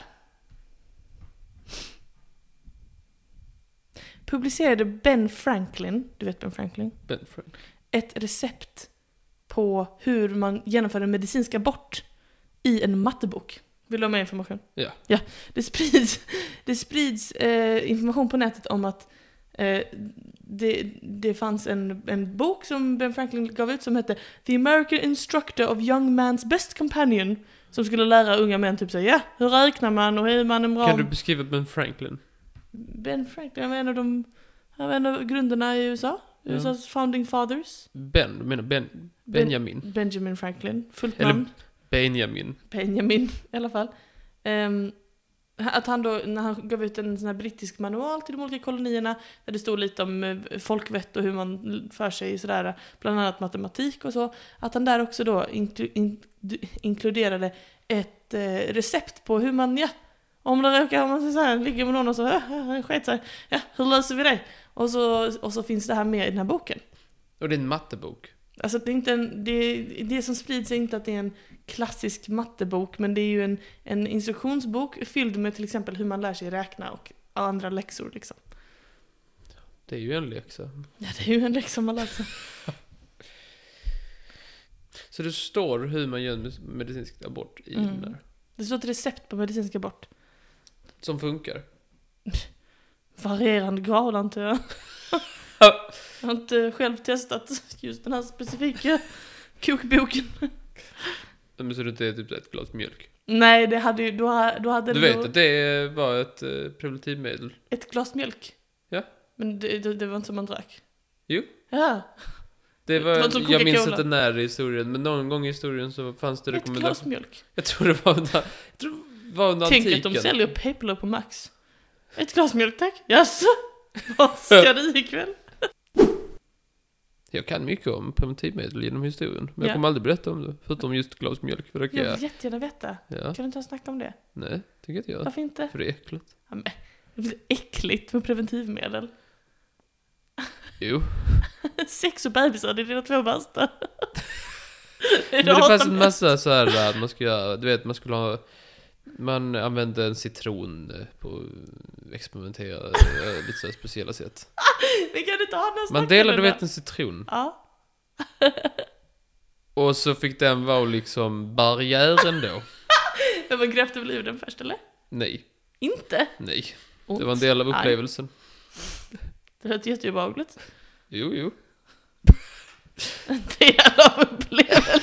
Publicerade Ben Franklin, du vet Ben Franklin, Ben Frank. ett recept på hur man genomför en medicinsk abort i en mattebok. Vill du ha mer information? Ja. ja det sprids, det sprids eh, information på nätet om att eh, det, det fanns en, en bok som Ben Franklin gav ut som hette The American Instructor of Young Man's Best Companion. Som skulle lära unga män typ säga ja, hur räknar man och hur är man en bra... Kan du beskriva Ben Franklin? Ben Franklin var en av de... Han var en av grunderna i USA. Ja. USAs founding fathers. Ben, du menar ben, Benjamin? Benjamin Franklin, fullt Eller- namn. Benjamin. Benjamin i alla fall. Ehm, att han då, när han gav ut en sån här brittisk manual till de olika kolonierna, där det stod lite om eh, folkvett och hur man för sig i sådär, bland annat matematik och så, att han där också då inklu, in, du- inkluderade ett eh, recept på hur man, ja, om det råkar, om man så här, ligger med någon och så, äh, äh, sket sig, ja, hur löser vi det? Och så, och så finns det här med i den här boken. Och det är en mattebok. Alltså det, är inte en, det, det som sprids är inte att det är en klassisk mattebok men det är ju en, en instruktionsbok fylld med till exempel hur man lär sig räkna och andra läxor liksom. Det är ju en läxa. Ja det är ju en läxa man lär sig. Så det står hur man gör en med- medicinsk abort i Mm. den där. Det står ett recept på medicinsk abort. Som funkar. Varierande grad antar jag. jag har inte själv testat just den här specifika kokboken. Men så det inte är typ ett glas mjölk. Nej det hade ju, då, ha- då hade Du det vet nog att det var ett eh, preventivmedel. ett glas mjölk. Ja. Men det, det, det var inte som man drack. Jo. Ja. Det Det var som var, jag minns Coca-Cola. inte när i historien, men någon gång i historien så fanns det Ett glas rekommendationer. mjölk. Jag tror det var under, jag tror det var under Tänk att antiken. de säljer Peplo på Max. Ett glas mjölk tack. Jaså? <laughs> Vad ska du ikväll? Jag kan mycket om preventivmedel genom historien, men Ja. jag kommer aldrig berätta om det. Förutom just glas mjölk, för det kan Jag jag... vill jättegärna veta. Ja, Kan du inte ens snacka om det? nej, tänker inte göra. Varför inte? För det är äckligt. Det blir äckligt med preventivmedel. <laughs> Jo. Sex och bebisar, det är dina två <laughs> värsta. Det är Men det de fanns en som- massa så här eh, att man skulle göra, du vet man skulle ha Man använde en citron eh, på experimentera eh, lite så här speciella sätt Vi kan inte ha någon Man snack delade om du det vet där. en citron Ja. Och så fick den vara liksom barriären då Men man grävde väl ur den först eller? Nej, Inte? nej Ont. Det var en del av upplevelsen Det lät jätteobehagligt. <laughs> Jo, jo En del av upplevelsen.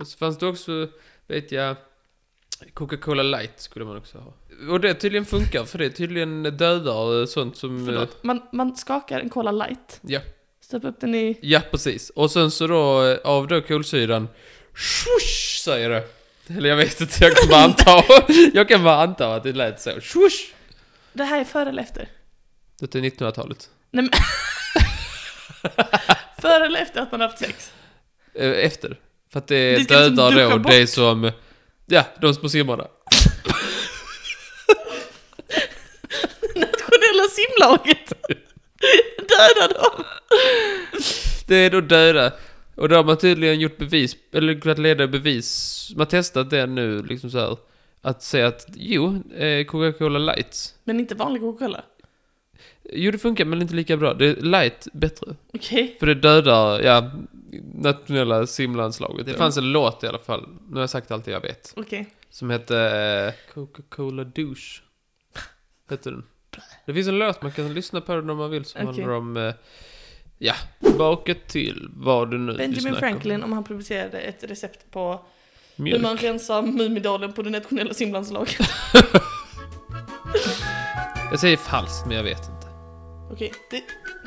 Och så fanns det också, vet jag Coca-Cola light skulle man också ha Och det tydligen funkar för det tydligen dödar eh, sånt som eh, Förlåt. Man, man skakar en Cola light. Ja. Stoppar upp den i... Ja, precis. Och sen så då, eh, av då kolsyran, swoosh, säger det. Eller jag vet inte, jag kan bara anta, <laughs> jag kan bara anta att det lät så. Swoosh! Det här är före eller efter? Detta är 1900-talet. <laughs> Före eller efter att man har haft <laughs> sex? Eh, Efter. För att Det det ska liksom dödar duscha då bort. det som, ja, de små simmarna. bolaget. <laughs> Döda dem. Det är då döda. Och då har man tydligen gjort bevis, eller kunnat leda bevis. Man har testat det nu, liksom så här. Att säga att, jo, eh, Coca-Cola light. Men inte vanlig Coca-Cola. Jo, det funkar, men inte lika bra. Det är light bättre. Okej. För det dödar, ja, nationella simlandslaget. Det Ja. fanns en låt i alla fall, nu har jag sagt allt jag vet. Okej. Som hette eh, Coca-Cola <laughs> douche. Hette den. Det finns en låt man kan lyssna på den om man vill som Okej. handlar om, eh, ja, baka till vad du nu Benjamin snackar om. Franklin, om han publicerade ett recept på hur Mjölk. man rensar Mumidalen på det nationella simlandslaget. Jag säger falskt, men jag vet inte. Okej, det,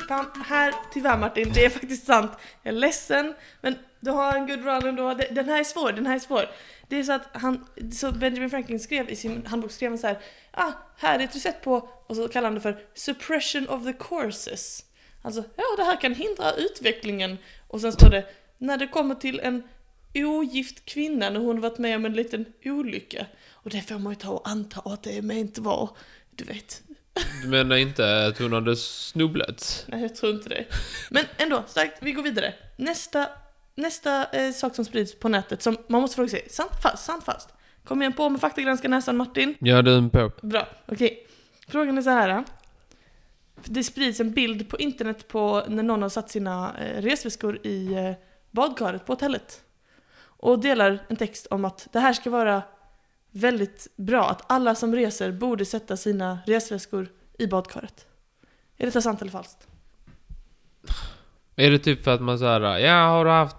fan, här, tyvärr Martin, det är faktiskt sant. Jag är ledsen, men du har en good run ändå. Det- Den här är svår, den här är svår. Det är så att han, så Benjamen Franklin skrev i sin handbok, skrev han så här, ah, här är ett recept på, och så kallar han det för suppression of the courses. Alltså, ja det här kan hindra utvecklingen. Och sen står det, när det kommer till en ogift kvinna när hon varit med om en liten olycka. Och det får man ju ta och anta att det är ment var, du vet. Du menar inte att hon hade snubblat? Nej, jag tror inte det. Men ändå, starkt. Vi går vidare. Nästa, nästa eh, sak som sprids på nätet som man måste fråga sig, sant fast, sant fast. Kom igen på med faktagranska näsan Martin. Ja, det är en på. Bra, okej. Frågan är så här. eh. Det sprids en bild på internet på när någon har satt sina eh, resväskor i eh, badkaret på hotellet. Och delar en text om att det här ska vara väldigt bra, att alla som reser borde sätta sina resväskor i badkaret. Är detta sant eller falskt? Är det typ för att man såhär, ja har du haft,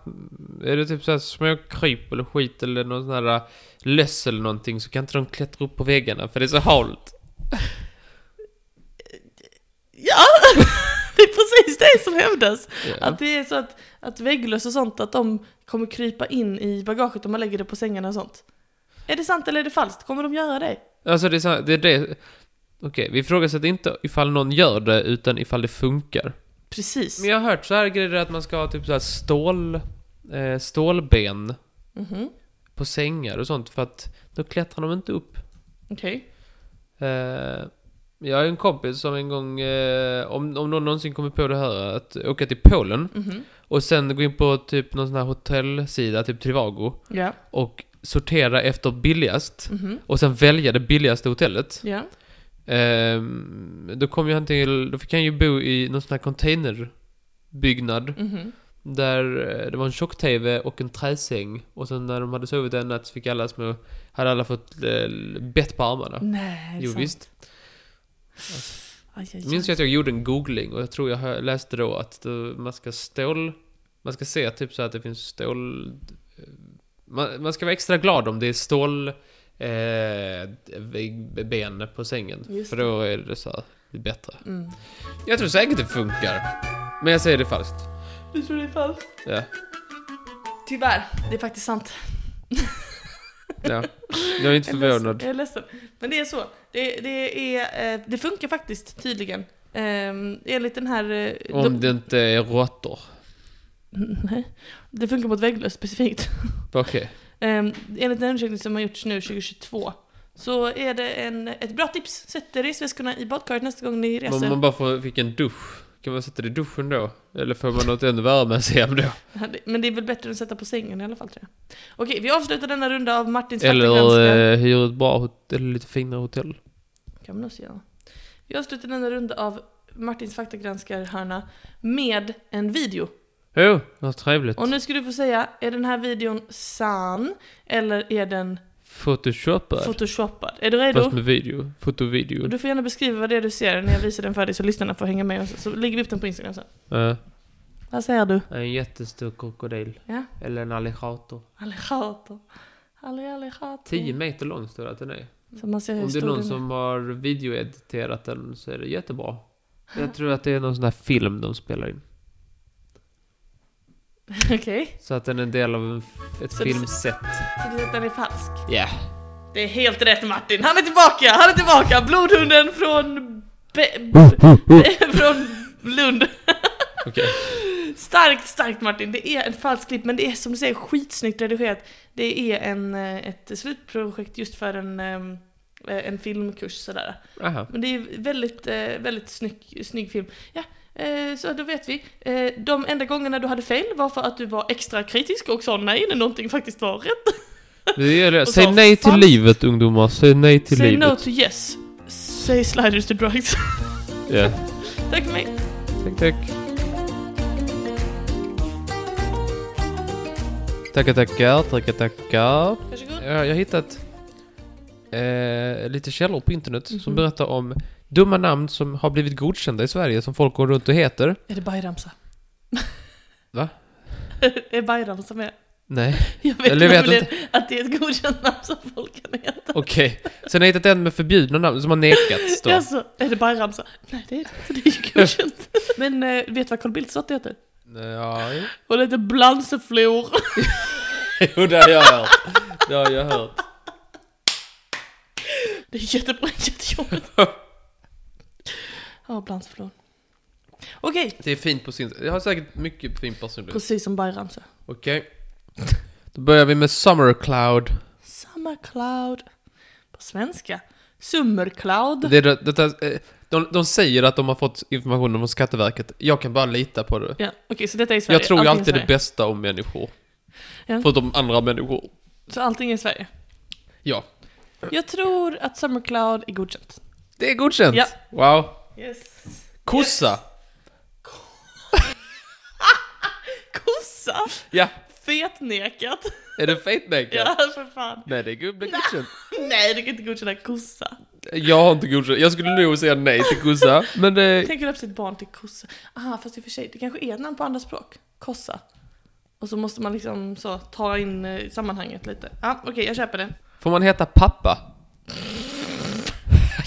är det typ såhär små kryp eller skit eller någon sån här eh, löss eller någonting så kan inte de klättra upp på väggarna för det är så halt. Ja, <laughs> det är precis det som hävdas. Ja. Att det är så att, att vägglöss och sånt, att de kommer krypa in i bagaget om man lägger det på sängarna och sånt. Är det sant eller är det falskt? Kommer de göra det? Alltså det är, så, det, är det. Okej, vi ifrågasätter inte ifall någon gör det utan ifall det funkar. Precis. Men jag har hört så här grejer att man ska ha typ såhär stål, eh, stålben Mhm, på sängar och sånt för att då klättrar de inte upp. Okej. Eh, jag har en kompis som en gång, eh, om, om någon någonsin kommer på det här, att åka till Polen Mhm. och sen gå in på typ någon sån här hotellsida, typ Trivago, Ja. och sortera efter billigast Mhm. och sen välja det billigaste hotellet. Ja. Eh, då kom ju han till, då fick han ju bo i någon sån här containerbyggnad Mhm. där eh, det var en tjock-tv och en träsäng och sen när de hade sovit en natt så fick alla små, hade alla fått eh, bett på armarna. Nej, det är Jo, sant. visst. Aj, aj, Jag aj. minns ju att jag gjorde en googling och jag tror jag hö- läste då att eh, man ska stål... Man ska se typ så att det finns stål... eh, Man, man ska vara extra glad om det är stål... Eh, vägg- ben på sängen. Just För då är det så här, det är bättre. Mm. Jag tror säkert det funkar. Men jag säger det falskt. Du tror det är falskt? Ja. Tyvärr, det är faktiskt sant. ja. <laughs> Jag Jag är är inte ledsen, förvånad. Jag är ledsen. Men det är så. Det, det, är, eh, det funkar faktiskt tydligen. Um, enligt den här... eh, Om det inte är råttor. <laughs> Nej, det funkar mot vägglöss specifikt. Okej. Um, enligt en undersökning som har gjorts nu 2022 så är det en, ett bra tips. Sätt resväskorna i badkaret nästa gång ni Om reser. man bara får, fick en dusch. Kan man sätta det i duschen då? Eller får man något ännu värme sen då? Men det är väl bättre än att sätta på sängen i alla fall tror jag. Okej, vi avslutar denna runda av Martins Eller faktagranskare. eh, hyr ett bra hotell, eller lite finare hotell. eh, kan man också göra. Vi avslutar denna runda av Martins faktagranskar-hörna med en video. Jo, vad trevligt. Och nu ska du få säga, är den här videon sann? Eller är den Photoshopad. photoshopad? Är du redo? Fast med video. Fotovideo. Och du får gärna beskriva vad det är du ser när jag visar den för dig så lyssnarna får hänga med och så, så lägger vi upp den på Instagram sen. Eh, Vad säger du? en jättestor krokodil. Ja, Eller en alligator. alligator. Alli, alligator. 10 meter lång står det att den är. Så man ser hur Om det stor är den någon är. som har videoediterat den så är det jättebra. Jag tror att det är någon sån här film de spelar in. <laughs> Okej, Så att den är en del av en, f- ett Så det- filmset. så du säger att den är falsk? Ja. Det är helt rätt Martin, han är tillbaka! Han är tillbaka! Blodhunden från... Be- Be- <laughs> från Lund. Okej. Starkt, starkt Martin! Det är en falsk klipp men det är som du säger skitsnyggt redigerat. Det är en, eh, ett slutprojekt just för en, eh, eh, en filmkurs sådär. <laughs> Aha. Men det är väldigt, eh, väldigt snygg, snygg film. Ja, eh, så då vet vi. Eh, de enda gångerna du hade fel var för att du var extra kritisk och sa nej när någonting faktiskt var rätt. Det gäller det. Och Säg så nej till fan- livet ungdomar, säg nej till Say livet. no to yes. Say sliders to drugs. <laughs> Ja. Tack för mig. Tack, tack. Tackar, tackar, tackar, tackar. Varsågod. Jag jag har hittat eh, lite källor på internet som Mhm. berättar om dumma namn som har blivit godkända i Sverige som folk går runt och heter. Är det Bayramsa? Va? <laughs> är Bayramsa med? Nej, Jag vet, Eller jag vet nämligen att det är ett godkänt namn som folk kan heta. okej. Sen har jag hittat en med förbjudna namn som har nekats då. Jaså, är det Bayramsa? Nej, det är det inte. Det är ju <laughs> godkänt. Men eh, vet du vad Carl Bildts dotter heter? Ja, jo. Hon heter Blanseflor. <laughs> jo, det har jag hört. Det har jag hört. Det är jättebra, <laughs> jättejobbigt. Ja, Blanseflor. Okej, Det är fint på sin... Jag har säkert mycket fin personlighet. precis som Bayramsa. Okej. Då börjar vi med Summer Cloud. Summercloud. På svenska. Summercloud. Det är det, detta, eh, de, de säger att de har fått informationen från Skatteverket. Jag kan bara lita på det. Ja, okej, så detta är i Sverige. Jag tror ju Allting är i alltid det Sverige. bästa om människor. Ja. Förutom andra människor. Så allting är i Sverige. Ja. Jag tror att Summercloud är godkänt. Det är godkänt. Ja. Wow. Yes. Kossa. Kossa! Ja. Fetnekat. Är det fetneck? Ja, för fan. Nej, det är go- blir godkänt. Nej, du kan inte godkänna kossa. Jag har inte godkänt. Jag skulle nog säga nej till kossa. Men det... Tänk att döpa sitt barn till kossa. Aha, fast i och för sig, det kanske är ett namn på andra språk. Kossa. Och så måste man liksom så, ta in eh, sammanhanget lite. Ja, ah, okej, jag köper det. Får man heta pappa?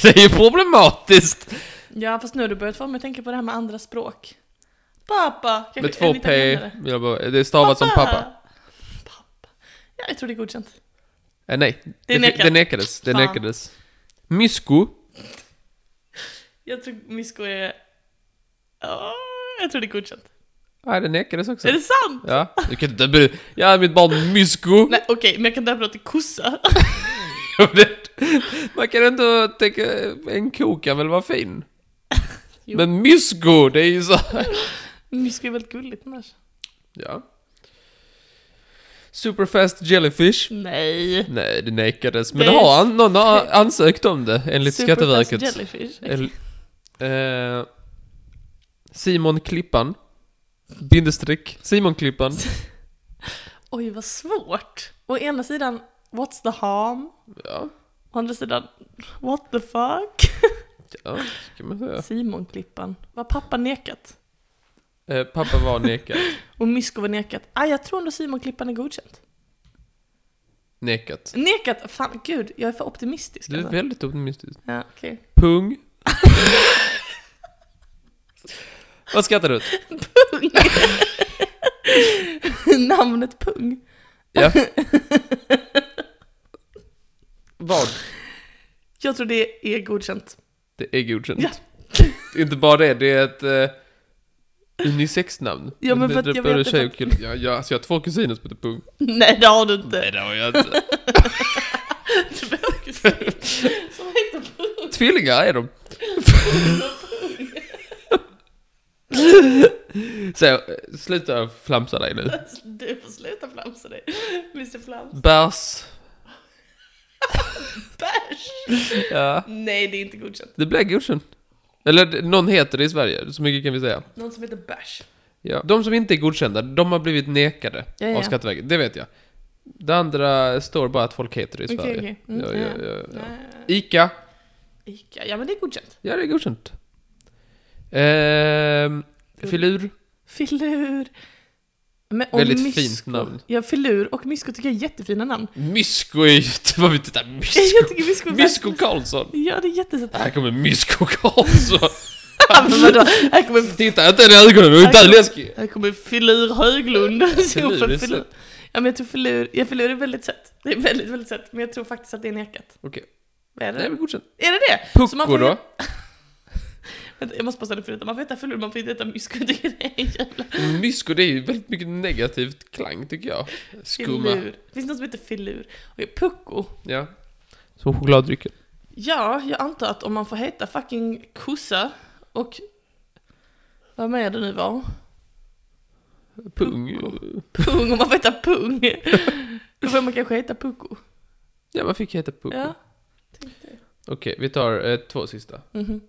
Det är ju problematiskt. Ja, fast nu har du börjat få mig att tänka på det här med andra språk. Pappa! Kanske Med en två P. italienare. Jag bara- Det är stavat som pappa. Pappa. Ja, jag tror det är godkänt. Eh, nej. Det är det, nekat. det nekades. Det Fan. nekades. Mysko. Jag tror Misko är... Ja, jag tror det är godkänt. Nej, det nekades också. Är det sant? Ja, du kan inte döpa Ja, mitt barn Mysko. <laughs> Nej, okej, men jag kan döpa det till kossa. <laughs> Man kan ändå tänka, en ko kan väl <laughs> vara fin? Men Mysko, det är ju så här. Misko är väldigt gulligt annars. Ja. Superfast Jellyfish. Nej. Nej, det nekades. Men Det är- har an- någon har ansökt om det, enligt Superfast Skatteverket. Jellyfish. El- eh, Simon Klippan. Bindestreck. <laughs> Simon Klippan. Oj, vad svårt. Å ena sidan, what's the harm? Ja, Å andra sidan, what the fuck? ja, så kan man säga. Simon Klippan. Var pappa nekat? Eh, pappa var nekad. Och Misko var nekat. Ah, jag tror ändå Simon Klippan är godkänt. Nekat. Nekat? Fan, gud, jag är för optimistisk. Du är alltså. väldigt optimistisk. Ja, okej. <laughs> Pung. Vad skrattar du åt? <laughs> Namnet Pung. <laughs> Ja. Vad? Jag tror det är godkänt. Det är godkänt. Ja. Inte bara det, det är ett eh, unisexnamn. Ja, men Det- för att det- jag både vet tjej att- och kille. Ja, ja, alltså jag har två kusiner som heter Pung. <laughs> Nej, det har du inte. det har jag inte. <laughs> Du behöver inte säga. Som heter Pung. Tvillingar <laughs> är de. Så, eh, sluta flamsa dig nu. Du får sluta flamsa dig. Mr Flams. Bärs. Bärs! Ja. Nej, det är inte godkänt. Det blev godkänt. Eller d- någon heter det i Sverige, så mycket kan vi säga. Någon som heter Bärs. Ja. De som inte är godkända, de har blivit nekade Ja, ja. av Skatteverket, det vet jag. Det andra står bara att folk heter det i Sverige. okej. Mm, ja, ja, ja, ja, ja. Nej. Ica, Ica, ja men det är godkänt. ja det är godkänt. Ehm, Mm. filur, Filur. Men, och Väldigt Mysko. fint namn. Ja, filur och mysko tycker jag är jättefina namn. Mysko är ju... <laughs> Vad <laughs> vi tittar, Jag Mysko. tycker mysko är Mysko Karlsson. Ja, det är jättesött. <laughs> Här kommer Mysko Karlsson. men vadå? Här kommer, Titta inte i ögonen, hon är inte läskig. här kommer filur Höglund. Stå Filur för är filur. sött. Ja men jag tror filur, ja filur är väldigt sött. Det är väldigt, väldigt sött. Men jag tror faktiskt att det är nekat. Okej, Vad är det? nej men godkänt. Är det det? Så man Pucko får- då? Vänta, jag måste bara ställa för detta. Man får heta filur, man får inte heta mysko. Det är det är jävla Mysko, det är ju väldigt mycket negativt klang tycker jag. Skumma. filur. Finns det något som heter filur? Okej, pucko. Ja. Som chokladdrycken. Ja, jag antar att om man får heta fucking kossa och vad mer det nu var, Pung. pung, om man får heta <laughs> pung, då får man kanske heta pucko. Ja, man fick heta Pung. Ja, Okej, vi tar eh, två sista. mhm,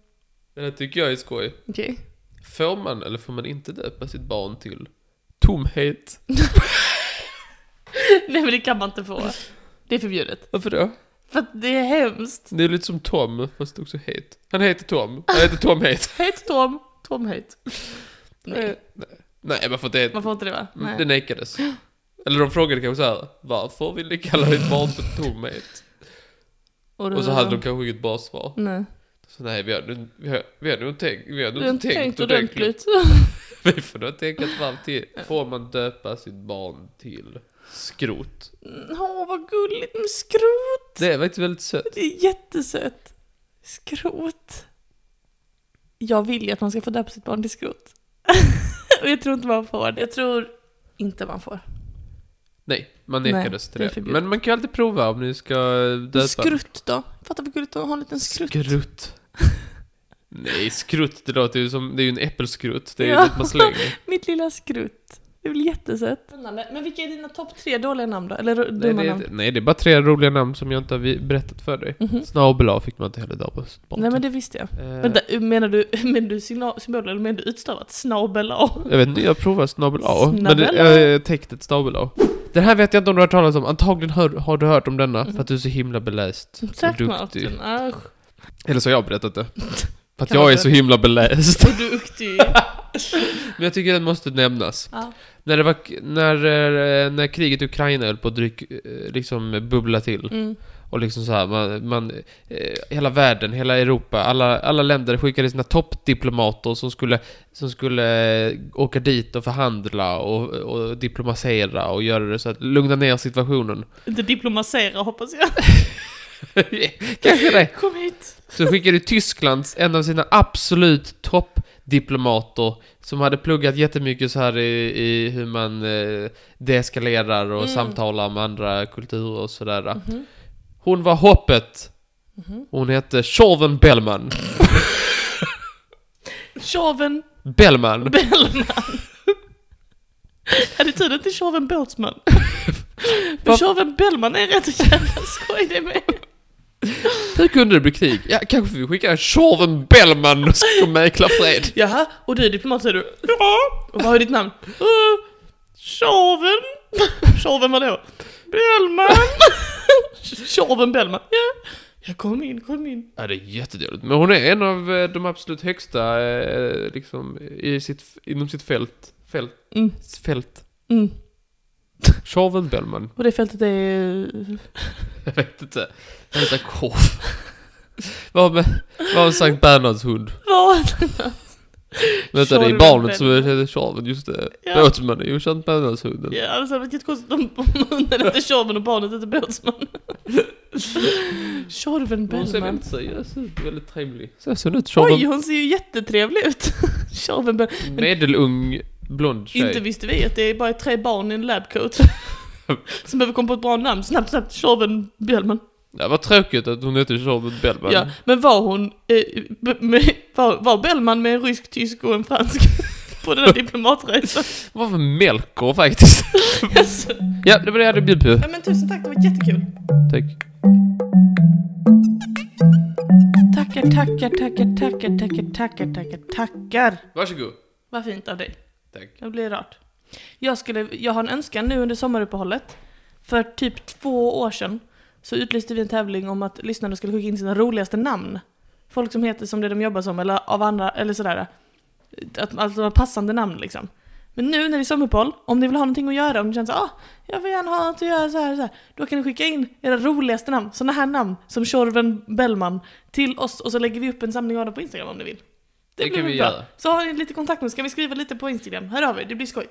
Den här tycker jag är skoj. okej. <laughs> Får man eller får man inte döpa sitt barn till tomhet? Nej men det kan man inte få. Det är förbjudet. Varför då? För att det är hemskt. Det är lite som Tom, fast också het. Han heter Tom. Han heter Tomhet. Het Tom, Tom het. Nej, Nej, Mm. Nej, man får inte heta... man får inte det va? Det Nej. nekades. Eller de frågade kanske så här. varför vill ni kalla ditt barn för Tomhet? då- Och så hade de kanske inget bra svar. Nej. Så nej, vi har nu vi har, vi har nog inte tänkt, vi har Du nog har inte tänkt ordentligt. ordentligt. Vi får nog tänka fram till, får man döpa sitt barn till skrot? Åh vad gulligt med skrot. Det är faktiskt väldigt sött. Det är jättesött. Skrot. Jag vill ju att man ska få döpa sitt barn till skrot. <laughs> Och jag tror inte man får det. Jag tror inte man får. Nej, man Nej, nekades till det är det. förbjudet. Men man kan ju alltid prova om ni ska döpa. Skrutt då? Fattar vad gulligt att ha en liten skrutt. Skrutt. <laughs> Nej, skrutt, det låter ju som, det är ju en äppelskrutt. Det är ju Ja. dit <laughs> man slänger. Mitt lilla skrutt. Det är väl jättesött. Spännande. Men vilka är dina topp tre dåliga namn då? Eller ro- Nej dumma det, namn? är, nej, det är bara tre roliga namn som jag inte har vi- berättat för dig. Mhm. Snabel A fick man inte heller döpa sitt barn Nej men till. det visste jag. Eh, Vänta, menar du, <laughs> menar du signal, symboler eller menar du utstavat? Snabel A? Jag vet inte, jag provar snabel A. Men Snabel det, A. jag har täckt ett snabel A. Den här vet jag inte om du har hört talas om. Antagligen hör, har du hört om denna för att du är så himla beläst och Mm. Tack duktig. Martin. Asch. Eller så har jag <laughs> berättat det. För att Kan jag man är få- så himla beläst. Och <laughs> duktig. Men jag tycker den måste nämnas. Ja. När, det var, när, eh, när kriget i Ukraina höll på att dryck, eh, liksom bubbla till. Mm. Och liksom så här, man, man, eh, hela världen, hela Europa, alla, alla länder skickade sina toppdiplomater som skulle, som skulle eh, åka dit och förhandla och, och diplomatisera och göra det så att lugna <laughs> ner situationen. Inte diplomasera hoppas jag. Kanske det. Kom hit. Så skickade Tysklands, en av sina absolut toppdiplomater som hade pluggat jättemycket så här i, i hur man eh, deeskalerar och Mm. samtalar med andra kulturer och sådär. Hon var hoppet. Hon hette Tjorven Bellman. Tjoven Bellman. Bellman. Hade tiden till Tjoven <laughs> Båtsman. För Vad- Tjoven Bellman är rätt jävla skoj det med. Hur kunde det bli krig? Ja, kanske vi skickar Tjorven Bellman och ska mäkla fred. Jaha, och du är diplomat säger du? Ja. Och vad är ditt namn? Uh, Tjoven. Tjoven vadå? Bellman. Tjoven Bellman. Ja. Jag kom in, kom in. Ja, det är jättedåligt. Men hon är en av eh, de absolut högsta, eh, liksom, i sitt, inom sitt fält. Fält. Mm. Fält. Mm. Tjorven Bellman. Och det fältet är... Jag vet inte. Jag heter Korv. Vad med, vad med Sankt Bernhards hund? Vad? Vänta, det är Tjorven barnet som Bellman. heter Tjorven, just det. Ja. Båtsman är ju Sankt Bernhards hunden. Ja, alltså, det hade varit jättekonstigt om om hunden hette Tjorven och barnet hette Båtsman. Tjorven Hon ser Bellman. väldigt seriös ut, väldigt trevlig. Så ser hon ut, Oj, Tjorven. hon ser ju jättetrevlig ut. Tjorven Bellman. Medelung blond tjej. Inte visste vi att det är bara tre barn i en labcoat. Som behöver komma på ett bra namn. Snabbt, snabbt. Tjorven Bellman. Ja, vad tråkigt att hon heter Tjorven Bellman. Ja, men var hon... Eh, b- med, var, var Bellman med en rysk, tysk och en fransk? <laughs> På den här diplomatresan. Vad för <laughs> Melker faktiskt. Alltså, ja, det var det jag hade bjudit på. ja, men tusen tack, det var jättekul. Tack. Tackar, tackar, tackar, tackar, tackar, tackar, tackar, tackar. Varsågod. Vad fint av dig. Tack. Det blir rart. Jag, skulle, jag har en önskan nu under sommaruppehållet. För typ två år sedan så utlyste vi en tävling om att lyssnarna skulle skicka in sina roligaste namn. Folk som heter som det de jobbar som eller av andra, eller sådär. Att, alltså de passande namn liksom. Men nu när det är sommaruppehåll, om ni vill ha någonting att göra, om ni känner så ah, jag vill gärna ha något att göra så här, så här, då kan ni skicka in era roligaste namn, sådana här namn som Tjorven Bellman, till oss och så lägger vi upp en samling av dem på Instagram om ni vill. Det blir kan väl vi bra. göra. Så har ni lite kontakt med oss, kan vi skriva lite på Instagram? Hör av er, det blir skoj.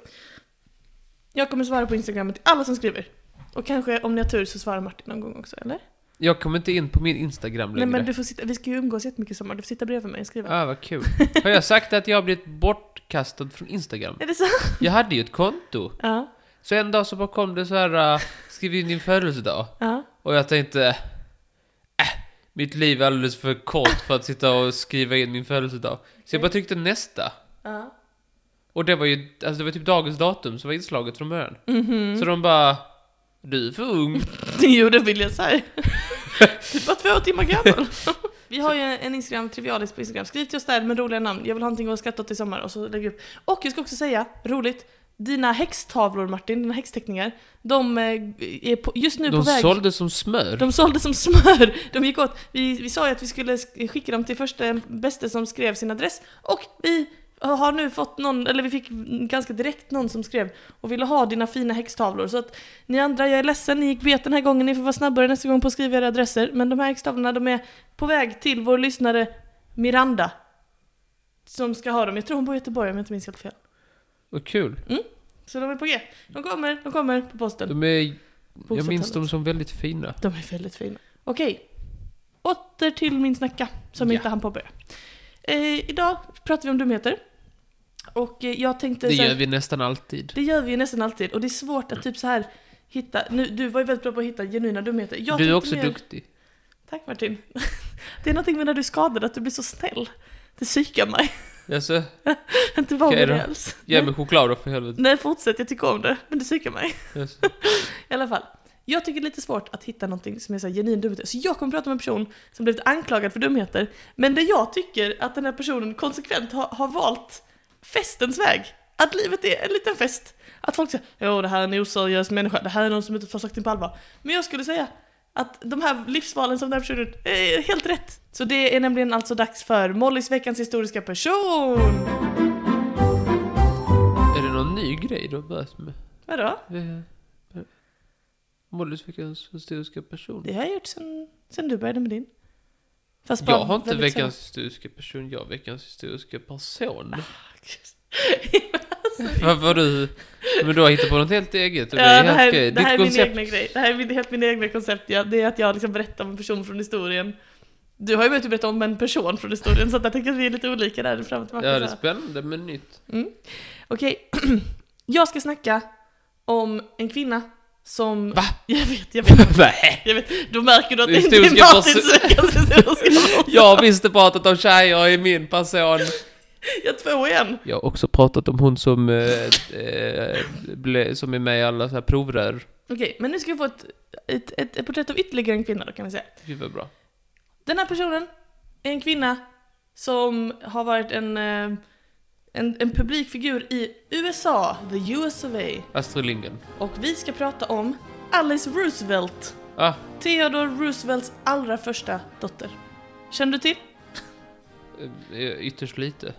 Jag kommer svara på Instagram till alla som skriver. Och kanske om ni har tur så svarar Martin någon gång också, eller? Jag kommer inte in på min Instagram Nej längre. men du får sitta, vi ska ju umgås jättemycket i sommar, du får sitta bredvid mig och skriva. Ah, vad kul. Har jag sagt att jag har blivit bortkastad <laughs> från Instagram? Är det så? Jag hade ju ett konto. Ja, Så en dag så äh, bara kom det så här, uh, skriv in din födelsedag. ja. Och jag tänkte, äh, Mitt liv är alldeles för kort för att sitta och skriva in min födelsedag. Så jag bara tryckte nästa. Ja. Och det var ju, alltså det var typ dagens datum som var inslaget från början. Mhm. Mm. Så de bara, du är för ung. <laughs> Jo, det vill jag <laughs> säga. Du är bara två timmar gammal. <laughs> Vi har ju en Instagram, Trivialis på Instagram. Skriv till oss där med roliga namn. Jag vill ha någonting att skratta åt i sommar. Och så lägger vi upp. Och jag ska också säga, roligt, dina häxtavlor Martin, dina häxteckningar, de eh, är på, just <laughs> nu De på väg. sålde som smör. De sålde som smör. De gick åt. Vi, vi sa ju att vi skulle sk- skicka dem till första bästa som skrev sin adress. Och vi har nu fått någon, eller vi fick ganska direkt någon som skrev och ville ha dina fina häxtavlor. Så att ni andra, jag är ledsen, ni gick bet den här gången. Ni får vara snabbare nästa gång på att skriva era adresser. Men de här häxtavlorna, de är på väg till vår lyssnare Miranda. Som ska ha dem. Jag tror hon bor i Göteborg om jag inte minns helt fel. Vad kul. Så de är på G. De kommer, de kommer på posten. De är, jag Bostadshotellet. minns dem som väldigt fina. De är väldigt fina. Okej. Åter till min snacka, som Ja. inte hann påbörja. Eh, idag pratar vi om dumheter. Och eh, jag tänkte... Det så här, gör vi nästan alltid. det gör vi ju nästan alltid. Och det är svårt att typ så här hitta... Nu, du var ju väldigt bra på att hitta genuina dumheter. Jag Du är tänkte också mer- duktig. Tack Martin. <laughs> det är någonting med när du är skadad, att du blir så snäll. Det psykar mig. <laughs> Alltså, Jag är inte van Okej vid det då. alls. ge mig choklad då för helvete. Nej, fortsätt. Jag tycker om det. Men det psykar mig. Yes. I alla fall. Jag tycker det är lite svårt att hitta någonting som är så här genuin dumheter. Så jag kommer prata med en person som blivit anklagad för dumheter. Men där jag tycker att den här personen konsekvent har, har valt festens väg. Att livet är en liten fest. Att folk säger ja det här är en oseriös människa, det här är någon som inte tar saken på allvar. Men jag skulle säga att de här livsvalen som den här personen gjort är helt rätt. Så det är nämligen alltså dags för Mollys veckans historiska person! Är det någon ny grej du har börjat med? Vadå? Eh, Mollys veckans historiska person. Det har jag gjort sen, sen du började med din. Fast bara Jag har inte väldigt veckans historiska person, jag har veckans <laughs> historiska person. sällan. Varför har du... Men du har hittat på något helt eget och det Ja, är det helt här, okej. det här Ditt är min koncept... egna grej. Det här är min, helt min egna koncept. Ja, det är att jag liksom berättar om en person från historien. Du har ju börjat berätta om en person från historien, så att jag tänker att vi är lite olika där fram och Ja, tillbaka. det så är här. spännande men nytt. mm. Okej, <clears throat> jag ska snacka om en kvinna som... Va? <laughs> Jag vet, jag <laughs> vet. Jag vet. Då märker du att det inte är Historiska Martins veckans <laughs> historiska person. Jag har visst pratat om tjejer i min person. Jag har två igen. Jag har också pratat om hon som, eh, eh, ble, som är med i alla så här provrör. Okej, men nu ska vi få ett, ett, ett, ett porträtt av ytterligare en kvinna då, kan vi säga. Gud vad bra. Den här personen är en kvinna som har varit en, eh, en, en publikfigur i USA, the US of A. Astrid Lindgren. Och vi ska prata om Alice Roosevelt, Ah, Theodore Roosevelts allra första dotter. Känner du till? eh, ytterst lite.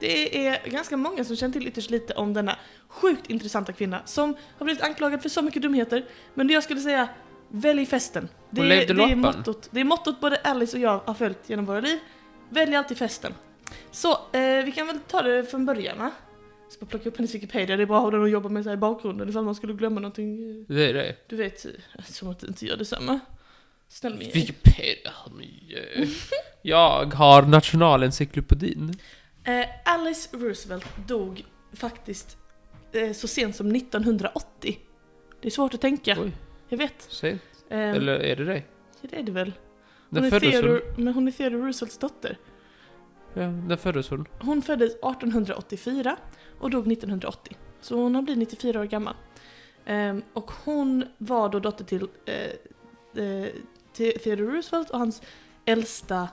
Det är ganska många som känner till ytterst lite om denna sjukt intressanta kvinna som har blivit anklagad för så mycket dumheter. Men det jag skulle säga, välj festen. Det, Hon är- levde det, är, loppan. mottot, det är mottot både Alice och jag har följt genom våra liv. Välj alltid festen. Så eh, vi kan väl ta det från början va? Ska bara plocka upp hennes Wikipedia, det är bra att ha den att jobba med så här i bakgrunden ifall man skulle glömma någonting. eh, Det är det. Du vet, eh, som att det inte gör detsamma. Snäll min Wikipedia. men, <laughs> eh, Jag har nationalencyklopedin. Eh, Alice Roosevelt dog faktiskt eh, så sent som 1980. Det är svårt att tänka. Oj. Jag vet. Se. Eh, Eller är det det? ja, Det är det väl. Hon När är, föddes hon? Theodore, men hon är Theodore Roosevelts dotter. Ja, när föddes hon? Hon föddes 1884 och dog 1980. Så hon har blivit 94 år gammal. Eh, och hon var då dotter till eh, eh, The- Theodore Roosevelt och hans äldsta